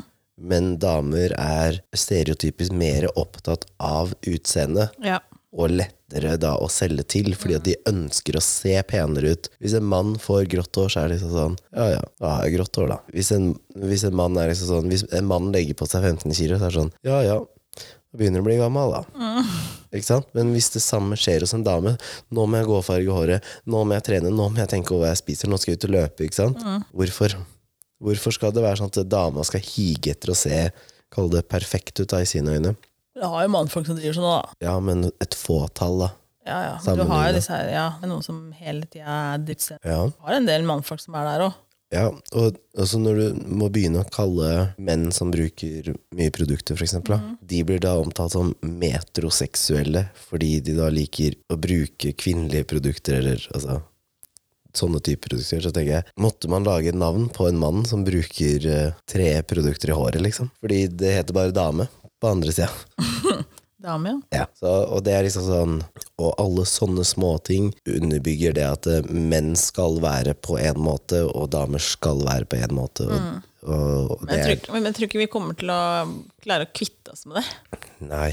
Speaker 1: Men damer er stereotypisk mer opptatt av utseendet
Speaker 2: Ja.
Speaker 1: og lettere da å selge til, fordi at de ønsker å se penere ut. Hvis en mann får grått hår, så er det liksom sånn Ja ja, da har jeg grått hår, da. Hvis en, hvis en mann er liksom sånn Hvis en mann legger på seg 15 kilo, så er det sånn Ja ja, da begynner du å bli gammel, da. Ikke sant? Men hvis det samme skjer hos en dame Nå må jeg gå og farge håret, nå må jeg trene, nå må jeg tenke over hva jeg spiser, nå skal jeg ut og løpe. Ikke sant? Hvorfor? Hvorfor skal det være sånn at dama skal hige etter å se Kall det perfekt ut da, i sine øyne?
Speaker 2: Du har jo mannfolk som driver sånn, da.
Speaker 1: Ja, men et fåtall, da.
Speaker 2: Ja, ja. Du har
Speaker 1: Sammenlignet.
Speaker 2: jo disse her, ja. Det er noen som hele tida er dipset.
Speaker 1: Ja.
Speaker 2: Du har en del mannfolk som er der òg.
Speaker 1: Ja, og altså når du må begynne å kalle menn som bruker mye produkter, for eksempel, da, de blir da omtalt som metroseksuelle, fordi de da liker å bruke kvinnelige produkter, eller altså sånne typer produkter, så tenker jeg, måtte man lage et navn på en mann som bruker eh, tre produkter i håret, liksom? Fordi det heter bare dame på andre sida.
Speaker 2: Dame, ja.
Speaker 1: Ja. Så, og det er liksom sånn Og alle sånne småting underbygger det at eh, menn skal være på en måte, og damer skal være på en måte. Og, og, og
Speaker 2: Men
Speaker 1: Mm. det
Speaker 2: jeg, tror,
Speaker 1: er
Speaker 2: ikke- men jeg tror ikke vi kommer til å klare å kvitte oss med det.
Speaker 1: Nei,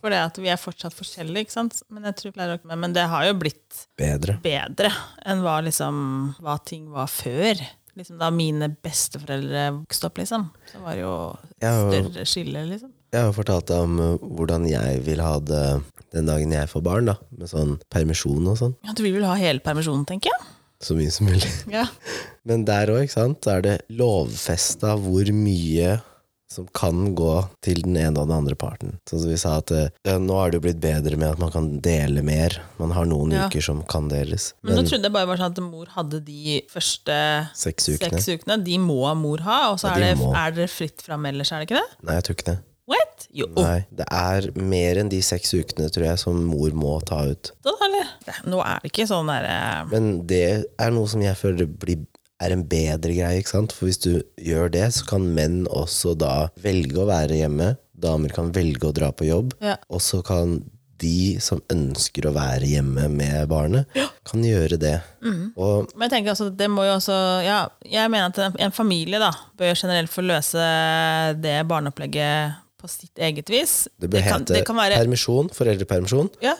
Speaker 2: For det at vi er fortsatt forskjellige, ikke sant. Men, jeg tror vi klarer å, men- men det har jo blitt
Speaker 1: bedre.
Speaker 2: bedre enn hva, liksom, hva ting var før. Liksom da mine besteforeldre vokste opp, liksom, så var det jo
Speaker 1: Ja, og-
Speaker 2: større skille, liksom.
Speaker 1: Jeg har fortalt deg om eh, hvordan jeg vil ha det den dagen jeg får barn, da. Med sånn permisjon og sånn.
Speaker 2: Ja, du vil vel ha hele permisjonen, tenker jeg.
Speaker 1: Så mye som mulig.
Speaker 2: Ja.
Speaker 1: Men der òg, ikke sant, så er det lovfesta hvor mye som kan gå til den ene og den andre parten. Sånn som vi sa at eh, ja, nå er det jo blitt bedre med at man kan dele mer. Man har noen
Speaker 2: Ja.
Speaker 1: uker som kan deles.
Speaker 2: Men
Speaker 1: Men
Speaker 2: nå trodde jeg bare var sånn at mor hadde de første
Speaker 1: seks ukene
Speaker 2: seks ukene. De må mor ha, og så
Speaker 1: Ja,
Speaker 2: er
Speaker 1: de
Speaker 2: det,
Speaker 1: må.
Speaker 2: er det fritt fram ellers, er det ikke det?
Speaker 1: Nei, jeg tror ikke det.
Speaker 2: What? Jo,
Speaker 1: Nei, Det er mer enn de seks ukene, tror jeg, som mor må ta ut.
Speaker 2: da, eller? Det, nå er det ikke sånn derre
Speaker 1: Men det er noe som jeg føler blir, er en bedre greie, ikke sant? For hvis du gjør det, så kan menn også da velge å være hjemme. Damer kan velge å dra på jobb.
Speaker 2: Ja.
Speaker 1: Og så kan de som ønsker å være hjemme med barnet, kan gjøre det.
Speaker 2: Mm.
Speaker 1: Og
Speaker 2: Men jeg tenker altså, at det må jo også ja, Jeg mener at en, en familie da bør generelt få løse det barneopplegget på sitt eget vis.
Speaker 1: det bør
Speaker 2: kan,
Speaker 1: hete
Speaker 2: det kan være
Speaker 1: permisjon, foreldrepermisjon,
Speaker 2: ja,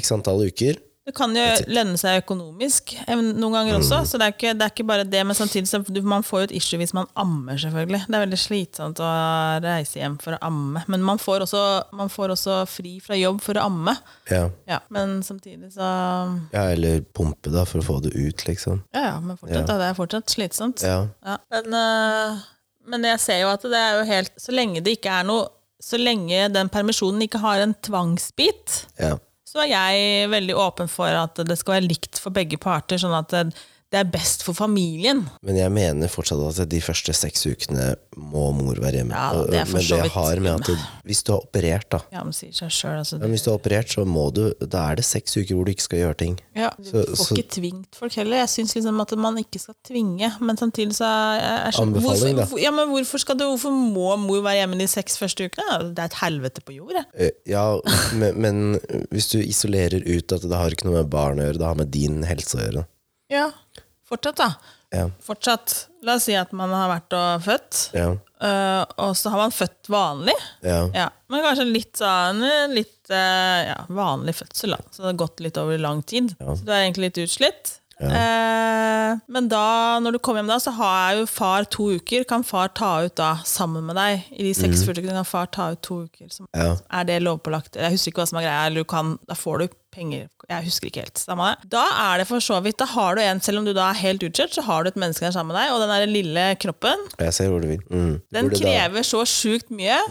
Speaker 1: x antall uker.
Speaker 2: Det kan jo lønne seg økonomisk eh, noen ganger også,
Speaker 1: Mm.
Speaker 2: så det er, ikke, det er ikke bare det. Men samtidig så du, man får jo et issue hvis man ammer, selvfølgelig. Det er veldig slitsomt å reise hjem for å amme. Men man får også, man får også fri fra jobb for å amme.
Speaker 1: Ja.
Speaker 2: Ja, men samtidig så
Speaker 1: ja, eller pumpe, da, for å få det ut, liksom.
Speaker 2: Ja, ja, men fortsatt, Da, det er fortsatt slitsomt.
Speaker 1: Ja.
Speaker 2: Ja. Men, øh, men jeg ser jo at det er jo helt Så lenge det ikke er noe Så lenge den permisjonen ikke har en tvangsbit,
Speaker 1: ja.
Speaker 2: så er jeg veldig åpen for at det skal være likt for begge parter, sånn at det det er best for familien.
Speaker 1: Men jeg mener fortsatt at de første seks ukene må mor være hjemme.
Speaker 2: Ja, det er for
Speaker 1: men
Speaker 2: så
Speaker 1: det
Speaker 2: vidt-
Speaker 1: har med at du- hvis du har operert, da
Speaker 2: Ja, men sier seg selv, altså.
Speaker 1: men hvis du har operert, så må du Da er det seks uker hvor du ikke skal gjøre ting.
Speaker 2: Ja, du får
Speaker 1: så-
Speaker 2: ikke tvingt folk heller. Jeg syns liksom at man ikke skal tvinge, men samtidig så er jeg skjønner-
Speaker 1: Anbefaling, da.
Speaker 2: hvorfor, hvor- ja, men hvorfor, skal du, hvorfor må mor være hjemme de seks første ukene? Det er et helvete på jord. jeg.
Speaker 1: Eh, Ja, men, men hvis du isolerer ut at det har ikke noe med barn å gjøre, det har med din helse å gjøre.
Speaker 2: Ja. Fortsatt, da.
Speaker 1: Ja,
Speaker 2: Fortsatt. La oss si at man har vært og født.
Speaker 1: ja,
Speaker 2: Øh, og så har man født vanlig.
Speaker 1: ja.
Speaker 2: Ja, men kanskje litt sånn eh, litt, eh, ja, vanlig fødsel, da. Så det har gått litt over lang tid. Så du er egentlig litt utslitt. Eh, men da, når du kommer hjem da, så har jo far to uker. Kan far ta ut da, sammen med deg? I de seks første ukene kan far ta ut to uker. Som,
Speaker 1: ja.
Speaker 2: Er det lovpålagt? Jeg husker ikke hva som er greia. Eller du kan, da får du penger. Jeg husker ikke helt. Samme det. Da er det for så vidt, da har du en, selv om du da er helt utkjørt, så har du et menneske der sammen med deg, og den der lille kroppen
Speaker 1: Jeg ser hvor du vil. Mm.
Speaker 2: den
Speaker 1: Hvor det da-
Speaker 2: krever så sjukt mye.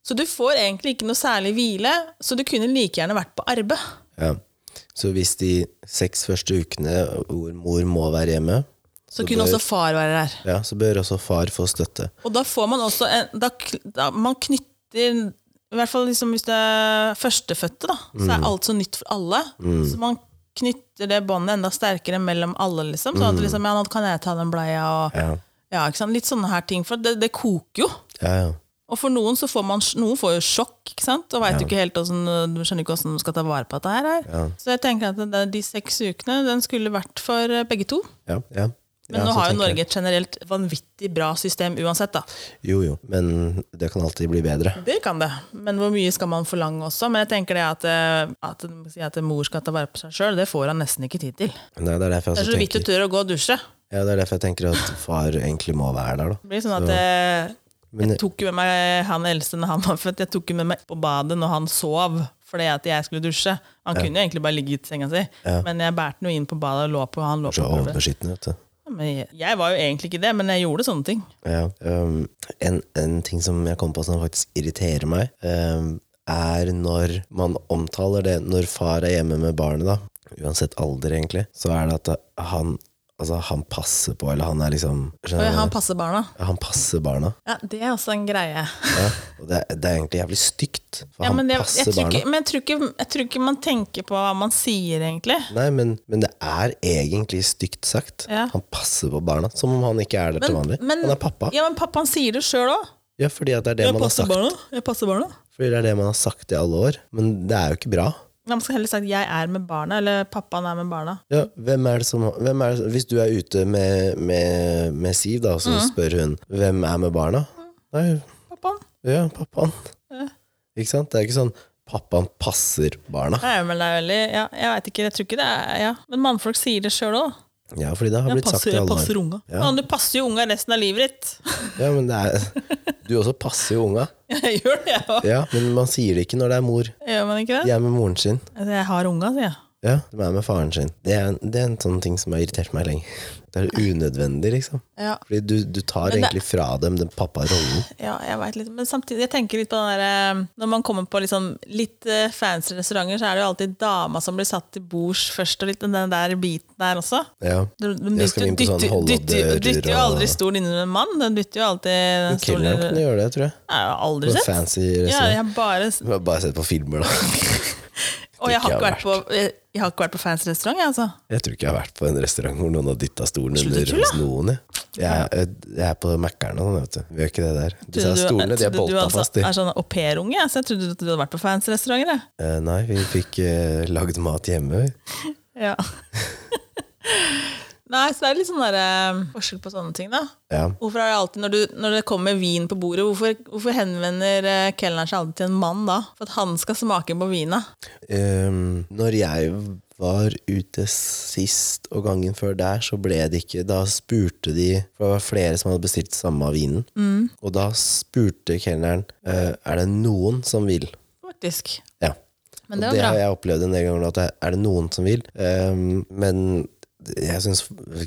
Speaker 2: Så du får egentlig ikke noe særlig hvile, så du kunne like gjerne vært på arbeid.
Speaker 1: Ja. Så hvis de seks første ukene hvor mor må være hjemme,
Speaker 2: Så, kunne også far være der.
Speaker 1: ja, så bør også far få støtte.
Speaker 2: Og da får man også en, da, kn- da, Man knytter I hvert fall liksom hvis det er førstefødte, da, så
Speaker 1: Mm.
Speaker 2: er alt så nytt for alle. Så man knytter det båndet enda sterkere mellom alle, liksom. Sånn
Speaker 1: Mm.
Speaker 2: at liksom, ja, nå kan jeg ta den bleia, og
Speaker 1: Ja,
Speaker 2: ja, ikke sant? Litt sånne her ting. For det, det koker jo.
Speaker 1: ja. ja.
Speaker 2: Og for noen så får man noen får jo sjokk, ikke sant? og vet jo ikke helt hvordan, du skjønner ikke hvordan du skal ta vare på dette her. her. Så jeg tenker at det, de seks ukene den skulle vært for eh, begge to.
Speaker 1: ja, ja.
Speaker 2: Men
Speaker 1: Ja,
Speaker 2: nå
Speaker 1: så
Speaker 2: har jo
Speaker 1: tenker jeg.
Speaker 2: Norge et generelt vanvittig bra system uansett, da.
Speaker 1: Jo, jo. Men det kan alltid bli bedre.
Speaker 2: Det kan det, men hvor mye skal man forlange også? Men jeg tenker det at, eh, at, si at mor skal ta vare på seg sjøl, det får han nesten ikke tid til. Det
Speaker 1: Nei, det, er derfor jeg
Speaker 2: er
Speaker 1: også
Speaker 2: så vidt du
Speaker 1: tenker,
Speaker 2: tør å gå og dusje.
Speaker 1: ja, det er derfor jeg tenker at far egentlig må være der, da.
Speaker 2: Det blir sånn at eh,
Speaker 1: Men-
Speaker 2: Jeg tok jo med meg han eldste når han var født, jeg tok jo med meg på badet når han sov. Fordi at jeg skulle dusje. Han kunne jo egentlig bare ligge i senga si, men jeg bærte noe inn på badet og lå på. Han lå på
Speaker 1: Så
Speaker 2: gulvet.
Speaker 1: overbeskyttende, vet du.
Speaker 2: Ja, men jeg, jeg var jo egentlig ikke det, men jeg gjorde sånne ting.
Speaker 1: Ja. Um, en, en ting som jeg kom på som faktisk irriterer meg, um, er når man omtaler det når far er hjemme med barnet, da. Uansett alder, egentlig. Så er det at han, altså, han passer på, eller han er liksom
Speaker 2: Og
Speaker 1: skjønner du?
Speaker 2: han passer barna.
Speaker 1: Han passer barna.
Speaker 2: Ja, Det er også en greie.
Speaker 1: Ja. Og det, er- det er egentlig jævlig stygt, for
Speaker 2: Ja,
Speaker 1: han
Speaker 2: men det, jeg,
Speaker 1: passer
Speaker 2: tror
Speaker 1: barna.
Speaker 2: ikke, men jeg, tror ikke, jeg tror ikke man tenker på hva man sier, egentlig.
Speaker 1: Nei, men, men det er egentlig stygt sagt.
Speaker 2: Ja.
Speaker 1: Han passer på barna, som om han ikke er der til vanlig.
Speaker 2: men,
Speaker 1: han er pappa. Ja,
Speaker 2: Ja, men pappaen sier det sjøl òg.
Speaker 1: fordi at det er det
Speaker 2: Jeg
Speaker 1: man har
Speaker 2: passer
Speaker 1: sagt.
Speaker 2: barna. Jeg passer barna.
Speaker 1: Fordi det er det man har sagt i alle år. Men det er jo ikke bra.
Speaker 2: Man skal heller sagt 'jeg er med barna', eller 'pappaen er med barna'.
Speaker 1: Ja, hvem er det som, hvem er det, hvis du er ute med, med, med Siv, da, så
Speaker 2: Mm.
Speaker 1: spør hun hvem er med barna? Nei,
Speaker 2: Pappaen.
Speaker 1: ja, pappaen.
Speaker 2: Ja.
Speaker 1: Ikke sant? Det er ikke sånn pappaen passer barna.
Speaker 2: Nei, men det er veldig, ja, jeg vet ikke, jeg tror ikke det er ja. Men mannfolk sier det sjøl òg.
Speaker 1: Ja, fordi det har blitt sagt i
Speaker 2: Passer,
Speaker 1: alle
Speaker 2: passer
Speaker 1: år.
Speaker 2: unga.
Speaker 1: Ja.
Speaker 2: Ja. du passer jo unga resten av livet ditt. <laughs>
Speaker 1: Ja, men det er, du også passer jo unga.
Speaker 2: Jeg gjør det, jeg òg.
Speaker 1: Ja, men man sier det ikke når det er mor.
Speaker 2: Gjør man ikke
Speaker 1: De
Speaker 2: det?
Speaker 1: er med moren sin.
Speaker 2: Altså, jeg har unga, sier jeg.
Speaker 1: Ja, de er med faren sin. Det er, det er en sånn ting som har irritert meg lenge. Det er unødvendig, liksom.
Speaker 2: Ja,
Speaker 1: Fordi du, du tar
Speaker 2: Men det-
Speaker 1: egentlig fra dem den papparollen.
Speaker 2: ja jeg vet litt. Men samtidig, jeg tenker litt på den der eh, Når man kommer på liksom litt eh, fancy restauranter, så er det jo alltid dama som blir satt til bords først, og litt den der biten der også.
Speaker 1: Ja.
Speaker 2: De, de
Speaker 1: Jeg skal
Speaker 2: dytter,
Speaker 1: inn på sånn
Speaker 2: dytter, dytter,
Speaker 1: Hollodører
Speaker 2: dytter jo
Speaker 1: og-
Speaker 2: aldri stolen innunder en mann. Den dytter jo alltid stolen
Speaker 1: Kelneren kunne
Speaker 2: Jeg
Speaker 1: gjøre det, tror jeg.
Speaker 2: har aldri
Speaker 1: På en
Speaker 2: sett.
Speaker 1: fancy altså.
Speaker 2: Ja,
Speaker 1: restaurant.
Speaker 2: jeg har bare
Speaker 1: Jeg har Bare sett på filmer, da. <laughs>
Speaker 2: Og jeg har
Speaker 1: ikke
Speaker 2: ikke
Speaker 1: jeg
Speaker 2: vært på, jeg, jeg har ikke vært på fans restaurant, jeg, altså.
Speaker 1: Jeg tror ikke jeg har vært på en restaurant hvor noen har dytta stolen
Speaker 2: Slutt å
Speaker 1: under
Speaker 2: tulle.
Speaker 1: hos noen. Jeg, jeg, jeg, jeg er på Mækkern og sånn, vet du. Vi gjør ikke det der. Du sa
Speaker 2: Trodde du-
Speaker 1: stolene, de
Speaker 2: trodde
Speaker 1: er
Speaker 2: du
Speaker 1: bolta
Speaker 2: altså
Speaker 1: fast, de.
Speaker 2: er sånn au pair-unge, jeg, så jeg trodde du hadde vært på fans restaurant. jeg.
Speaker 1: Eh, Nei, vi fikk eh, lagd mat hjemme.
Speaker 2: Ja. <laughs> Nei, så det er litt sånn der, eh, forskjell på sånne ting, da.
Speaker 1: Ja.
Speaker 2: Hvorfor er det alltid, når, du, når det kommer vin på bordet, hvorfor, hvorfor henvender eh, kelneren seg alltid til en mann da? For at han skal smake på vina?
Speaker 1: Ehm, når jeg var ute sist og gangen før der, så ble det ikke Da spurte de For det var flere som hadde bestilt samme av vinen.
Speaker 2: Mm.
Speaker 1: Og da spurte kelneren eh, Er det noen som vil.
Speaker 2: Faktisk.
Speaker 1: Ja.
Speaker 2: Men det
Speaker 1: og
Speaker 2: var
Speaker 1: det
Speaker 2: bra.
Speaker 1: har jeg opplevd en del ganger nå. At det- er det noen som vil? Ehm, men jeg syns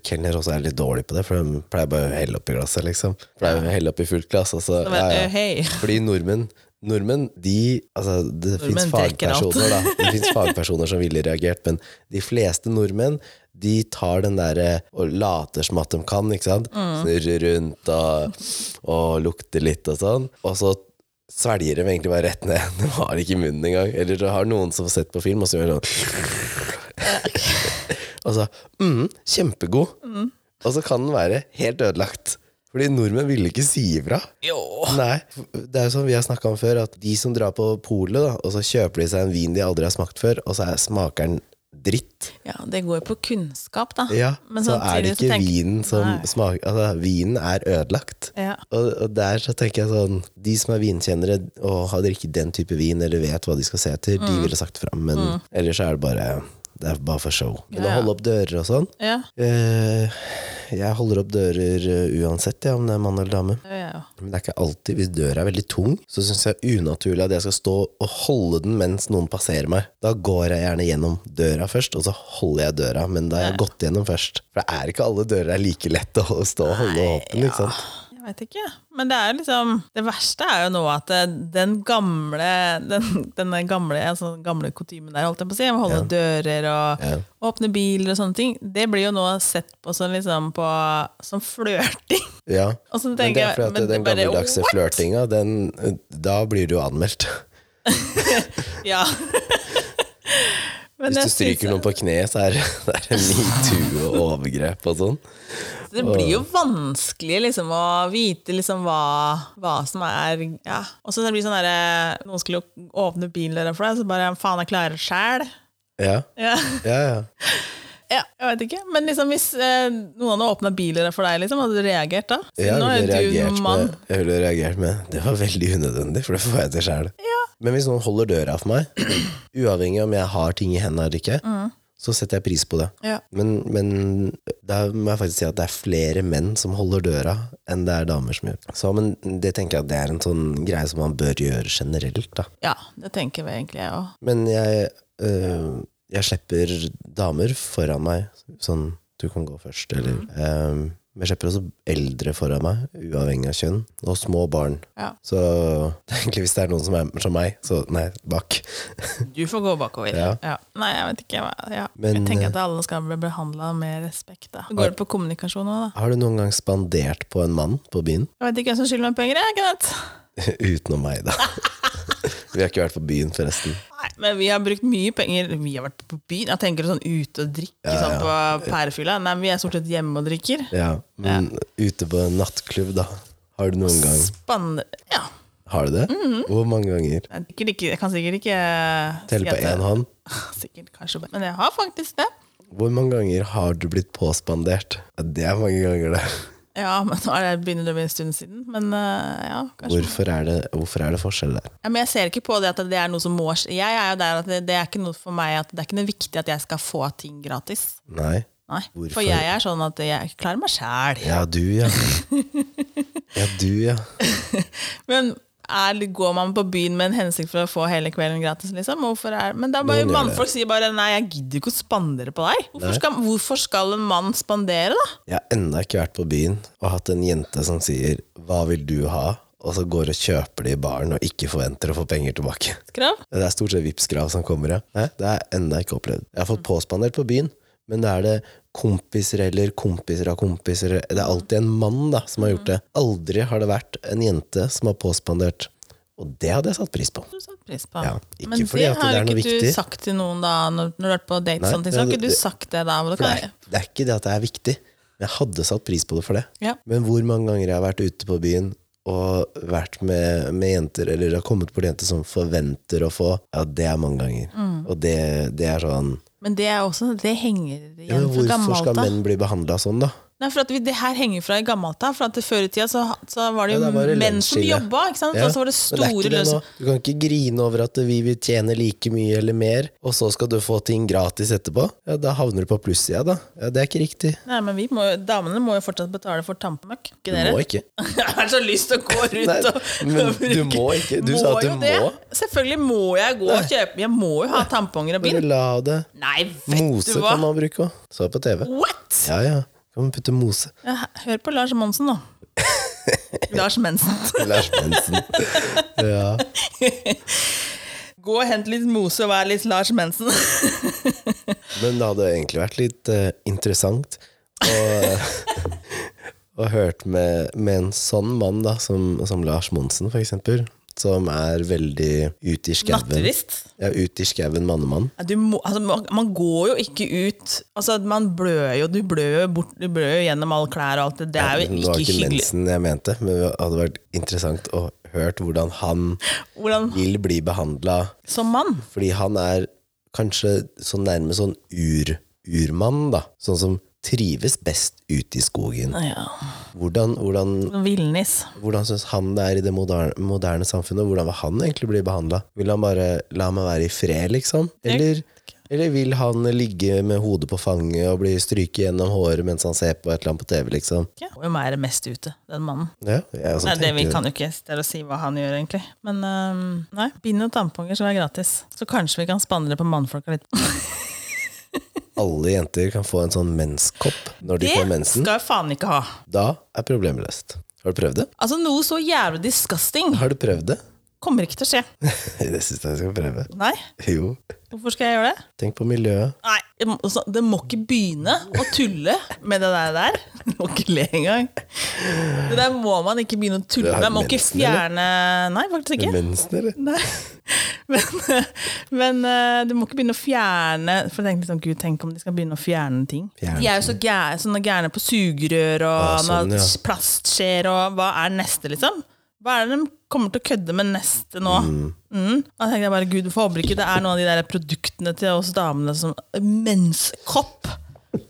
Speaker 1: kelner også er litt dårlig på det, for de pleier bare å helle oppi glasset, liksom. Pleier å helle oppi fullt glass, og så
Speaker 2: Det var,
Speaker 1: ja, ja.
Speaker 2: eh, hei.
Speaker 1: Fordi nordmenn Nordmenn, de, altså Det fins
Speaker 2: Nordmenn drikker alt.
Speaker 1: fagpersoner da Det finnes fagpersoner som ville reagert, men de fleste nordmenn de tar den derre og later som at de kan, ikke sant?
Speaker 2: Mm.
Speaker 1: Snurrer rundt og, og lukter litt og sånn. Og så svelger de egentlig bare rett ned. De har ikke munnen engang. Eller så har noen som har sett på film, og så gjør de sånn <laughs> Og så mm, Kjempegod.
Speaker 2: Mm.
Speaker 1: Og så kan den være helt ødelagt. Fordi nordmenn ville ikke si ifra.
Speaker 2: Jo.
Speaker 1: Nei, det er jo som vi har snakka om før, at de som drar på polet, da, og så kjøper de seg en vin de aldri har smakt før, og så er smaker den dritt,
Speaker 2: Ja, det går jo på kunnskap, da.
Speaker 1: ja,
Speaker 2: Men
Speaker 1: så er det
Speaker 2: samtidig så
Speaker 1: ikke
Speaker 2: tenker-
Speaker 1: vinen som
Speaker 2: Nei.
Speaker 1: smaker Altså, vinen er ødelagt.
Speaker 2: Ja.
Speaker 1: Og, og der så tenker jeg sånn De som er vinkjennere og har drikket den type vin, eller vet hva de skal se etter,
Speaker 2: Mm.
Speaker 1: de ville sagt fram, men ellers er det bare Det er bare for show. Men
Speaker 2: Ja,
Speaker 1: å
Speaker 2: ja.
Speaker 1: holde opp dører og sånn
Speaker 2: Ja,
Speaker 1: eh, Jeg holder opp dører eh, uansett, ja, om det er mann eller dame.
Speaker 2: det gjør jeg jo.
Speaker 1: Men det er ikke alltid. Hvis døra er veldig tung, så syns jeg det er unaturlig at jeg skal stå og holde den mens noen passerer meg. Da går jeg gjerne gjennom døra først, og så holder jeg døra, men da har jeg gått gjennom først. For det er ikke alle dører er like lett å stå og holde åpen, ikke sant.
Speaker 2: Jeg Jeg vet ikke. Men det er liksom Det verste er jo nå at eh, den gamle den, denne gamle, altså, den gamle kutymen der, holdt jeg på å si, å holde dører og
Speaker 1: Ja.
Speaker 2: åpne biler og sånne ting, det blir jo nå sett på som liksom på som flørting. <laughs>
Speaker 1: Ja.
Speaker 2: Og så
Speaker 1: Men
Speaker 2: tenker
Speaker 1: det
Speaker 2: jeg
Speaker 1: er fordi
Speaker 2: men
Speaker 1: at den
Speaker 2: det bare,
Speaker 1: gammeldagse
Speaker 2: what?
Speaker 1: flørtinga, den- da blir du jo anmeldt.
Speaker 2: Ja. Men
Speaker 1: Hvis
Speaker 2: jeg
Speaker 1: du stryker
Speaker 2: synes-
Speaker 1: noen på kne, så er det <laughs> er metoo og overgrep og sånn.
Speaker 2: Det blir jo vanskelig liksom, å vite liksom, hva, hva som er ja. Og så det blir sånn derre Noen skulle jo åpne bildøra for deg, så bare faen, jeg klarer det sjæl.
Speaker 1: Ja,
Speaker 2: <laughs> Ja.
Speaker 1: ja, ja.
Speaker 2: ja, jeg vet ikke. Men liksom, hvis eh, noen hadde åpna bildøra for deg, liksom, hadde du reagert da? Siden
Speaker 1: Jeg
Speaker 2: nå er
Speaker 1: ville,
Speaker 2: jo du
Speaker 1: reagert
Speaker 2: noen mann.
Speaker 1: med, jeg ville reagert med Det var veldig unødvendig, for det får jeg til sjæl. Men hvis noen holder døra for meg, <clears throat> uavhengig om jeg har ting i hendene eller ikke,
Speaker 2: Mm.
Speaker 1: så setter jeg pris på det.
Speaker 2: Ja.
Speaker 1: Men, men da må jeg faktisk si at det er flere menn som holder døra, enn det er damer som gjør. Så, men det tenker jeg at det er en sånn greie som man bør gjøre generelt. da
Speaker 2: ja, det tenker vi egentlig jeg òg.
Speaker 1: Men jeg, øh, jeg slipper damer foran meg, sånn du kan gå først, eller øhm, Men jeg slipper også eldre foran meg, uavhengig av kjønn, og små barn.
Speaker 2: Ja.
Speaker 1: <laughs> Så det er egentlig hvis det er noen som er som meg, så nei, bak.
Speaker 2: Du får gå bakover.
Speaker 1: Ja.
Speaker 2: Nei, jeg vet ikke. hva- Ja.
Speaker 1: Men, eh,
Speaker 2: jeg tenker at alle skal bli behandla med respekt. da. Går det på kommunikasjon òg, da?
Speaker 1: <laughs> Har du noen gang spandert på en mann på byen? <laughs>
Speaker 2: Jeg vet ikke hvem som skylder meg penger, jeg, Kenneth.
Speaker 1: Utenom meg, da. <laughs> Vi har ikke vært på byen, forresten.
Speaker 2: Nei, men vi har brukt mye penger. Vi har vært på byen. Jeg tenker sånn ute og drikke sånn på pærefylla. Nei, men vi er stort sett hjemme og drikker.
Speaker 1: Ja, Men ute på en nattklubb, da. Har du noen gang
Speaker 2: Spannende. Ja.
Speaker 1: Har du det? Hvor mange ganger?
Speaker 2: Jeg, sikkert ikke, jeg kan sikkert ikke
Speaker 1: Telle på én
Speaker 2: hånd.
Speaker 1: hånd.
Speaker 2: <laughs> Sikkert, kanskje. Men jeg har faktisk det.
Speaker 1: Hvor mange ganger har du blitt påspandert? Ja, Det er mange ganger, det.
Speaker 2: Ja, men nå er det begynner det å bli en stund siden. Men eh, ja, kanskje.
Speaker 1: Hvorfor er det, hvorfor er det forskjell der?
Speaker 2: Ja, men jeg ser ikke på det at det er noe som må skje. Jeg er jo der at det, det er ikke noe for meg at det er ikke noe viktig at jeg skal få ting gratis.
Speaker 1: Nei.
Speaker 2: Nei.
Speaker 1: Hvorfor?
Speaker 2: For jeg er sånn at jeg klarer meg sjæl.
Speaker 1: Ja, du, ja. Ja, du, ja.
Speaker 2: Men er, går man på byen med en hensikt for å få hele kvelden gratis? liksom? Hvorfor er, men da
Speaker 1: Noen
Speaker 2: bare
Speaker 1: gjør
Speaker 2: mannfolk sier bare 'nei, jeg gidder ikke å spandere på deg'. Hvorfor skal, hvorfor skal en mann spandere, da?
Speaker 1: Jeg har ennå ikke vært på byen og hatt en jente som sier 'hva vil du ha', og så går og kjøper det i baren og ikke forventer å få penger tilbake.
Speaker 2: Krav?
Speaker 1: Det er stort sett Vipps-krav som kommer, ja. Hæ? Det har jeg ennå ikke opplevd. Jeg har fått påspandert på byen, men da er det kompiser eller kompiser av kompiser. Det er alltid en mann da, som har gjort det. Aldri har det vært en jente som har påspandert. Og det hadde jeg satt pris på.
Speaker 2: Du satte pris på.
Speaker 1: Ja, ikke
Speaker 2: men
Speaker 1: fordi at det er noe
Speaker 2: ikke du
Speaker 1: viktig.
Speaker 2: sagt til noen da, når, når du har vært på date.
Speaker 1: Nei,
Speaker 2: sånne ting, så har
Speaker 1: det-
Speaker 2: ikke du
Speaker 1: det-
Speaker 2: sagt det da. hvor du
Speaker 1: For
Speaker 2: kan-
Speaker 1: det er, det er ikke det at det er viktig. men Jeg hadde satt pris på det for det.
Speaker 2: Ja.
Speaker 1: Men hvor mange ganger jeg har vært ute på byen og vært med, med jenter, eller det har kommet bort jenter som forventer å få, ja, det er mange ganger. Og det, det er sånn
Speaker 2: Men det er også, det henger
Speaker 1: ja,
Speaker 2: igjen
Speaker 1: men
Speaker 2: fra
Speaker 1: Hvorfor
Speaker 2: gammelt
Speaker 1: skal
Speaker 2: av.
Speaker 1: menn bli behandla sånn, da?
Speaker 2: Nei, for at vi, det her henger fra i gammelt av. For at det før i tida så, så var det jo
Speaker 1: Ja, da var det
Speaker 2: menn som
Speaker 1: lønnsskille.
Speaker 2: jobba. ikke sant?
Speaker 1: Ja,
Speaker 2: Og så var det
Speaker 1: men er
Speaker 2: store
Speaker 1: ikke det
Speaker 2: lønns...
Speaker 1: nå. Du kan ikke grine over at vi vil tjene like mye eller mer, og så skal du få ting gratis etterpå. Ja, Da havner du på plussida, da. Ja, Det er ikke riktig.
Speaker 2: Nei, men vi må, damene må jo fortsatt betale for tampemøkk. Ikke
Speaker 1: Du
Speaker 2: dere?
Speaker 1: må ikke.
Speaker 2: <laughs> Jeg har så lyst til å gå rundt
Speaker 1: Nei,
Speaker 2: og <laughs>
Speaker 1: men
Speaker 2: og bruke
Speaker 1: du må ikke. Du sa at
Speaker 2: jo
Speaker 1: du
Speaker 2: det.
Speaker 1: må.
Speaker 2: Selvfølgelig må jeg gå og kjøpe. Jeg må jo ha tamponger og
Speaker 1: Bare
Speaker 2: bind.
Speaker 1: la det.
Speaker 2: Nei, vet
Speaker 1: Mose
Speaker 2: du hva!
Speaker 1: kan man bruke òg. Så på TV.
Speaker 2: What?!
Speaker 1: Ja, ja. Kan man putte mose.
Speaker 2: Ja, Hør på Lars Monsen,
Speaker 1: <laughs>
Speaker 2: nå. Lars Mensen.
Speaker 1: Lars
Speaker 2: <laughs>
Speaker 1: Bensen. Ja.
Speaker 2: Gå og hent litt mose og vær litt Lars
Speaker 1: <laughs>
Speaker 2: Mensen.
Speaker 1: Men det hadde egentlig vært litt eh, interessant å, <laughs> å hørt med, med en sånn mann da, som, som Lars Monsen, for eksempel, som er veldig ut i skauen.
Speaker 2: Naturist.
Speaker 1: Ja, ut i skauen mannemann.
Speaker 2: Ja, Du må, altså, man- man går jo ikke ut altså, Man blør jo, du blør jo, bort, du blør jo gjennom alle klær og alt det. Det er jo
Speaker 1: Men Det var
Speaker 2: ikke
Speaker 1: ikke
Speaker 2: hyggelig.
Speaker 1: mensen jeg mente, men det hadde vært interessant å hørt hvordan han
Speaker 2: Hvordan,
Speaker 1: vil bli behandla.
Speaker 2: som mann.
Speaker 1: Fordi han er kanskje så nærme sånn ur, urmann, da. Sånn som trives best ute i skogen.
Speaker 2: Ja.
Speaker 1: Hvordan, hvordan
Speaker 2: Villnis.
Speaker 1: Hvordan syns han det er i det moderne, moderne samfunnet? Hvordan vil han egentlig bli behandla? Vil han bare la meg være i fred, liksom? Eller, eller vil han ligge med hodet på fanget og bli stryket gjennom håret mens han ser på et eller annet på TV, liksom?
Speaker 2: Ja. Hvem er det mest ute, den mannen?
Speaker 1: Ja, jeg også
Speaker 2: Nei, det, vi
Speaker 1: tenker-
Speaker 2: kan jo ikke stille og si hva han gjør, egentlig. Men øhm, nei, bind og tamponger skal være gratis. Så kanskje vi kan spandere på mannfolka litt.
Speaker 1: Alle jenter kan få en sånn menskopp når de
Speaker 2: Det
Speaker 1: får mensen.
Speaker 2: skal jeg faen ikke ha!
Speaker 1: Da er problemet løst. Har du prøvd det?
Speaker 2: Altså Noe så jævlig disgusting
Speaker 1: Har du prøvd det? <laughs>
Speaker 2: kommer ikke til å skje.
Speaker 1: det syns jeg jeg skal prøve.
Speaker 2: Nei,
Speaker 1: Jo.
Speaker 2: Hvorfor skal jeg gjøre det?
Speaker 1: Tenk på miljøet.
Speaker 2: Nei, jeg må- altså, Det må ikke begynne å tulle med det der. der. Du må ikke le engang. Det der må man ikke begynne å tulle
Speaker 1: Du har
Speaker 2: med. Man må ikke
Speaker 1: mensen, eller?
Speaker 2: fjerne Nei, faktisk ikke.
Speaker 1: Mensen, eller?
Speaker 2: Nei. Men, <laughs> men eh, du må ikke begynne å fjerne For jeg tenkte liksom, Gud, tenk om de skal begynne å fjerne ting.
Speaker 1: Fjerne
Speaker 2: de er jo så gære, sånne gærne på sugerør og
Speaker 1: Ah, sånn,
Speaker 2: med
Speaker 1: ja.
Speaker 2: plastskjer og Hva er neste, liksom? Hva er det de kommer til å kødde med neste nå? Mm. Da tenkte jeg bare Gud, jeg håper ikke det er noen av de der produktene til oss damene som Menskopp!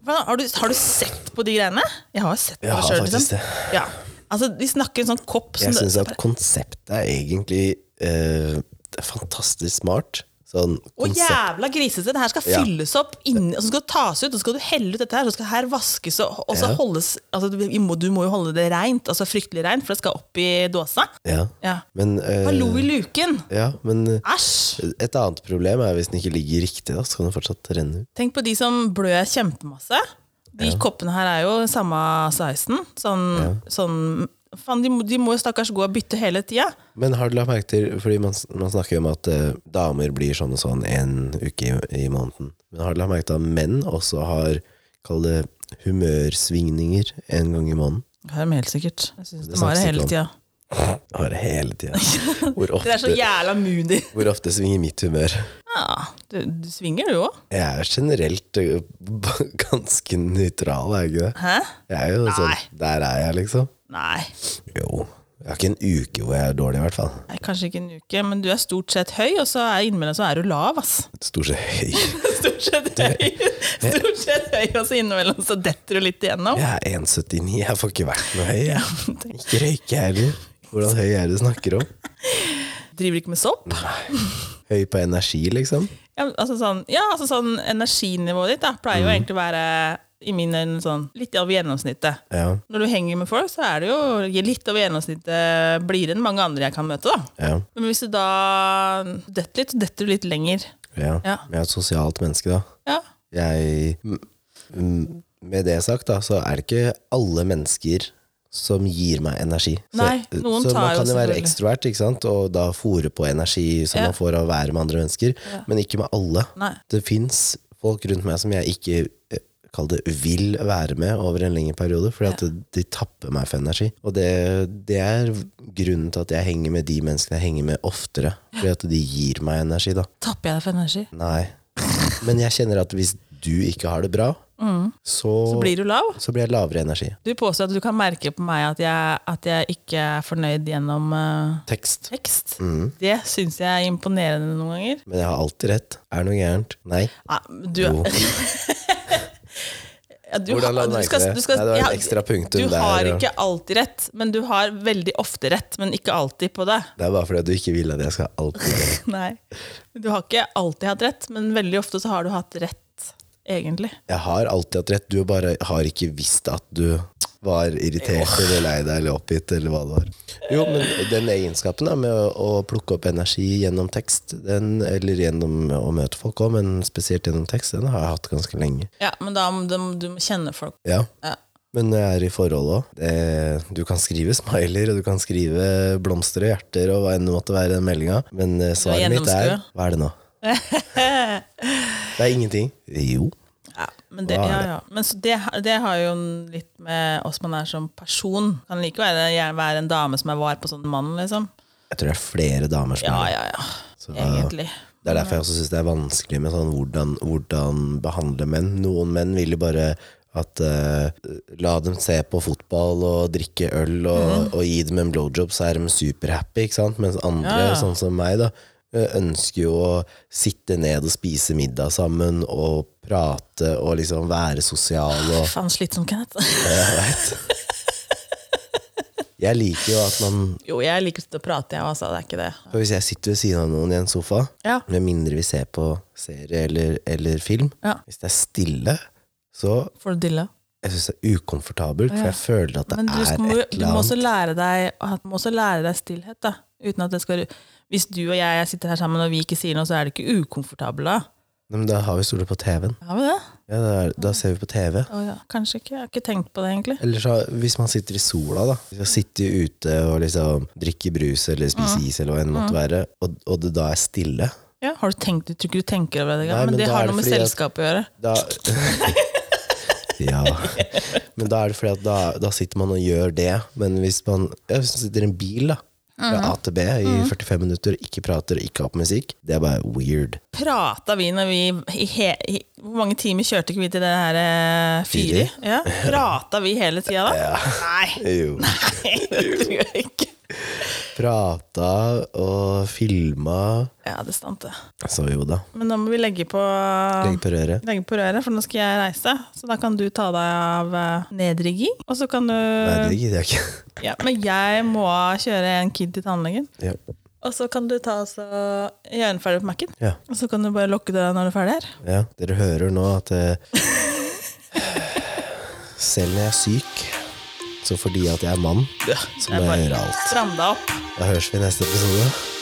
Speaker 2: Hva, har, du, har du sett på de greiene? Jeg har sett på
Speaker 1: Jeg
Speaker 2: det
Speaker 1: har
Speaker 2: sjøl,
Speaker 1: faktisk
Speaker 2: liksom.
Speaker 1: det.
Speaker 2: Ja. Altså, de snakker en sånn kopp som
Speaker 1: Jeg
Speaker 2: det-
Speaker 1: syns at konseptet er egentlig eh, det er fantastisk smart. Sånn
Speaker 2: Og
Speaker 1: konsept
Speaker 2: jævla grisete! Det her skal
Speaker 1: Ja.
Speaker 2: fylles opp, inn, og så skal det tas ut, og så skal du helle ut dette her, så skal det her vaskes og, og så
Speaker 1: Ja.
Speaker 2: holdes altså, du, vi må, du må jo holde det reint, altså fryktelig reint, for det skal opp i dåsa.
Speaker 1: Ja.
Speaker 2: Ja.
Speaker 1: Men, eh,
Speaker 2: Hallo i luken!
Speaker 1: ja, men eh,
Speaker 2: Æsj!
Speaker 1: et annet problem er hvis den ikke ligger riktig, da, så kan den fortsatt renne ut.
Speaker 2: Tenk på de som blør kjempemasse. De koppene her er jo samme sizen. Sånn, sånn Faen, de, må- de må jo stakkars gå og bytte hele tida.
Speaker 1: Men har du lagt merke til, fordi man, man snakker jo om at eh, damer blir sånn og sånn en uke i, i måneden, men har du lagt merke til at menn også har, kall det, humørsvingninger en gang i måneden?
Speaker 2: Det er de helt sikkert. Jeg
Speaker 1: Det
Speaker 2: synes de har
Speaker 1: snakkes
Speaker 2: det
Speaker 1: ikke
Speaker 2: hele
Speaker 1: om.
Speaker 2: tida.
Speaker 1: Har det hele tida.
Speaker 2: <laughs>
Speaker 1: Hvor
Speaker 2: Dere er så
Speaker 1: ofte,
Speaker 2: jævla moody.
Speaker 1: hvor ofte svinger mitt humør?
Speaker 2: Ja, du, du svinger, du òg.
Speaker 1: Jeg er generelt ø, b- <laughs> ganske nøytral, er jeg ikke det?
Speaker 2: Hæ?
Speaker 1: Jeg er jo sånn,
Speaker 2: Nei.
Speaker 1: der er jeg, liksom.
Speaker 2: Nei.
Speaker 1: Jo. Jeg har ikke en uke hvor jeg er dårlig, i hvert fall.
Speaker 2: Nei, kanskje ikke en uke, men du er stort sett høy, og så er innimellom så er du lav, ass. <laughs>
Speaker 1: Stort sett høy.
Speaker 2: Stort sett høy, stort sett høy og så innimellom så detter du litt igjennom.
Speaker 1: Jeg er 1,79, jeg får ikke vært noe høy. Jeg. Ikke røyke jeg heller. Hvordan høy er det du snakker om?
Speaker 2: Driver ikke med sopp.
Speaker 1: Høy på energi, liksom?
Speaker 2: Ja, altså sånn, ja, altså sånn energinivået ditt da, pleier jo egentlig å være i mine øyne sånn litt over gjennomsnittet.
Speaker 1: Ja.
Speaker 2: Når du henger med folk, så er det jo litt over gjennomsnittet blidere enn mange andre jeg kan møte, da.
Speaker 1: Ja.
Speaker 2: Men hvis du da detter litt, så detter du litt lenger.
Speaker 1: ja.
Speaker 2: Ja.
Speaker 1: Jeg er et sosialt menneske, da.
Speaker 2: Ja.
Speaker 1: Jeg m- m- Med det sagt, da, så er det ikke alle mennesker som gir meg energi.
Speaker 2: Nei,
Speaker 1: så, eh,
Speaker 2: noen
Speaker 1: så
Speaker 2: tar
Speaker 1: man
Speaker 2: jo
Speaker 1: kan jo være
Speaker 2: selvfølgelig.
Speaker 1: ekstrovert ikke sant? og da fòre på energi som
Speaker 2: Ja.
Speaker 1: man får av å være med andre mennesker, men ikke med alle.
Speaker 2: Nei.
Speaker 1: Det fins folk rundt meg som jeg ikke eh, kall det vil være med over en lengre periode, fordi at de tapper meg for energi. Og det, det er grunnen til at jeg henger med de menneskene jeg henger med oftere, fordi at de gir meg energi, da.
Speaker 2: Tapper jeg deg for energi?
Speaker 1: Nei. Men jeg kjenner at hvis du ikke har det bra, så,
Speaker 2: Mm. Så blir du lav?
Speaker 1: så blir jeg lavere i energi.
Speaker 2: Du påstår at du kan merke på meg at jeg, at jeg ikke er fornøyd gjennom eh,
Speaker 1: Tekst.
Speaker 2: tekst.
Speaker 1: Mm.
Speaker 2: Det syns jeg er imponerende noen ganger.
Speaker 1: Men jeg har alltid rett. Er det noe gærent? Nei.
Speaker 2: Nei, men du,
Speaker 1: Jo.
Speaker 2: ja, du,
Speaker 1: Hvordan la
Speaker 2: har-
Speaker 1: du merke
Speaker 2: skal-
Speaker 1: det?
Speaker 2: du skal-
Speaker 1: Nei, det var et
Speaker 2: jeg har-
Speaker 1: ekstra punktum
Speaker 2: Du
Speaker 1: der,
Speaker 2: har
Speaker 1: ja.
Speaker 2: ikke alltid rett, men du har veldig ofte rett, men ikke alltid på det.
Speaker 1: Det er bare fordi at du ikke vil at jeg skal alltid rett.
Speaker 2: <laughs> Nei. Du har ikke alltid hatt rett, men veldig ofte så har du hatt rett, egentlig.
Speaker 1: Jeg har alltid hatt rett. Du bare har ikke visst at du var irritert eller lei deg eller oppgitt eller hva det var. Jo, men den egenskapen da, med å, å plukke opp energi gjennom tekst, den, eller gjennom å møte folk òg, men spesielt gjennom tekst, den har jeg hatt ganske lenge.
Speaker 2: Ja, men da må du, du må kjenne folk.
Speaker 1: Ja.
Speaker 2: Ja.
Speaker 1: Men når jeg er i forhold òg. Du kan skrive smileyer, og du kan skrive blomster og hjerter og hva enn det måtte være i den meldinga, men eh, svaret mitt er
Speaker 2: gjennomskue.
Speaker 1: Hva er det
Speaker 2: <laughs>
Speaker 1: nå? Det er ingenting. Jo.
Speaker 2: Ja, men det,
Speaker 1: Hva er
Speaker 2: ja,
Speaker 1: det?
Speaker 2: ja. Men så det, det har jo en- litt med oss man er som person. Kan like være, gjerne være en dame som er var på sånn mann, liksom.
Speaker 1: Jeg tror det er flere damer som
Speaker 2: Ja,
Speaker 1: er det.
Speaker 2: ja, ja.
Speaker 1: Så, eh,
Speaker 2: Egentlig.
Speaker 1: Det er derfor jeg også syns det er vanskelig med sånn hvordan, hvordan behandle menn. Noen menn vil jo bare at eh, La dem se på fotball og drikke øl og,
Speaker 2: Mhm.
Speaker 1: og gi dem en blowjob, så er de superhappy, ikke sant? Mens andre,
Speaker 2: Ja, ja.
Speaker 1: sånn som meg, da, eh, ønsker jo å sitte ned og spise middag sammen og prate og liksom være sosial og
Speaker 2: Faen, slitsom, Kenneth.
Speaker 1: Jeg vet. Jeg liker jo at man
Speaker 2: <laughs> Jo, jeg liker å sitte og prate, jeg også. Det er ikke det.
Speaker 1: for Hvis jeg sitter ved siden av noen i en sofa,
Speaker 2: Ja.
Speaker 1: med mindre vi ser på serie eller, eller film,
Speaker 2: Ja.
Speaker 1: hvis det er stille, så
Speaker 2: Får du dilla?
Speaker 1: jeg synes det er ukomfortabelt, for jeg føler at det
Speaker 2: Men du,
Speaker 1: er
Speaker 2: må,
Speaker 1: et
Speaker 2: du
Speaker 1: eller
Speaker 2: må
Speaker 1: annet
Speaker 2: også lære deg, du må også lære deg stillhet, da. Uten at det skal Hvis du og jeg sitter her sammen og vi ikke sier noe, så er det ikke ukomfortable. da.
Speaker 1: Nei, men da har vi stoler på TV-en.
Speaker 2: Har vi det?
Speaker 1: Ja, da, er, da ser vi på TV.
Speaker 2: Å ja. Kanskje ikke. Jeg har ikke tenkt på det, egentlig.
Speaker 1: Eller så, hvis man sitter i sola, da. Hvis man sitter ute og liksom drikker brus eller spiser
Speaker 2: Mm.
Speaker 1: is, eller hva enn det måtte være, og, og det da er stille
Speaker 2: Ja, har du tenkt, Du tror ikke du tenker over
Speaker 1: Nei,
Speaker 2: det, engang, men,
Speaker 1: men da
Speaker 2: det
Speaker 1: er
Speaker 2: har
Speaker 1: det
Speaker 2: noe med
Speaker 1: fordi at-
Speaker 2: selskapet å gjøre. <laughs>
Speaker 1: da Ja. Men da er det fordi at da, da sitter man og gjør det. Men hvis man, ja, hvis man sitter i en bil, da, fra
Speaker 2: Mm.
Speaker 1: A til B i 45 minutter, ikke prater, ikke har på musikk, det er bare weird.
Speaker 2: Prata vi når vi i he, i, Hvor mange timer kjørte ikke vi til det her eh, Fyri? Ja. Prata vi hele tida da?
Speaker 1: <laughs>
Speaker 2: Nei,
Speaker 1: Jo.
Speaker 2: Nei, <laughs> det tror jeg ikke.
Speaker 1: Prata og filma.
Speaker 2: Ja, det er sant, det.
Speaker 1: Så jo da.
Speaker 2: Men da må vi legge på
Speaker 1: Legg på røret.
Speaker 2: Legge på røret, for nå skal jeg reise. Så da kan du ta deg av eh, nedrigging. Og så kan du
Speaker 1: Nei, det gidder jeg ikke. <laughs>
Speaker 2: ja, Men jeg må kjøre en kid til tannlegen.
Speaker 1: Ja.
Speaker 2: Og så kan du ta og så gjøre den ferdig på Mac-en.
Speaker 1: Ja.
Speaker 2: Og så kan du bare lukke døra når du er ferdig her.
Speaker 1: ja. Dere hører nå at eh, <sighs> Selv når jeg er syk, så fordi at jeg er mann, så må jeg gjøre alt.
Speaker 2: Stram deg opp.
Speaker 1: Da høres vi i neste episode.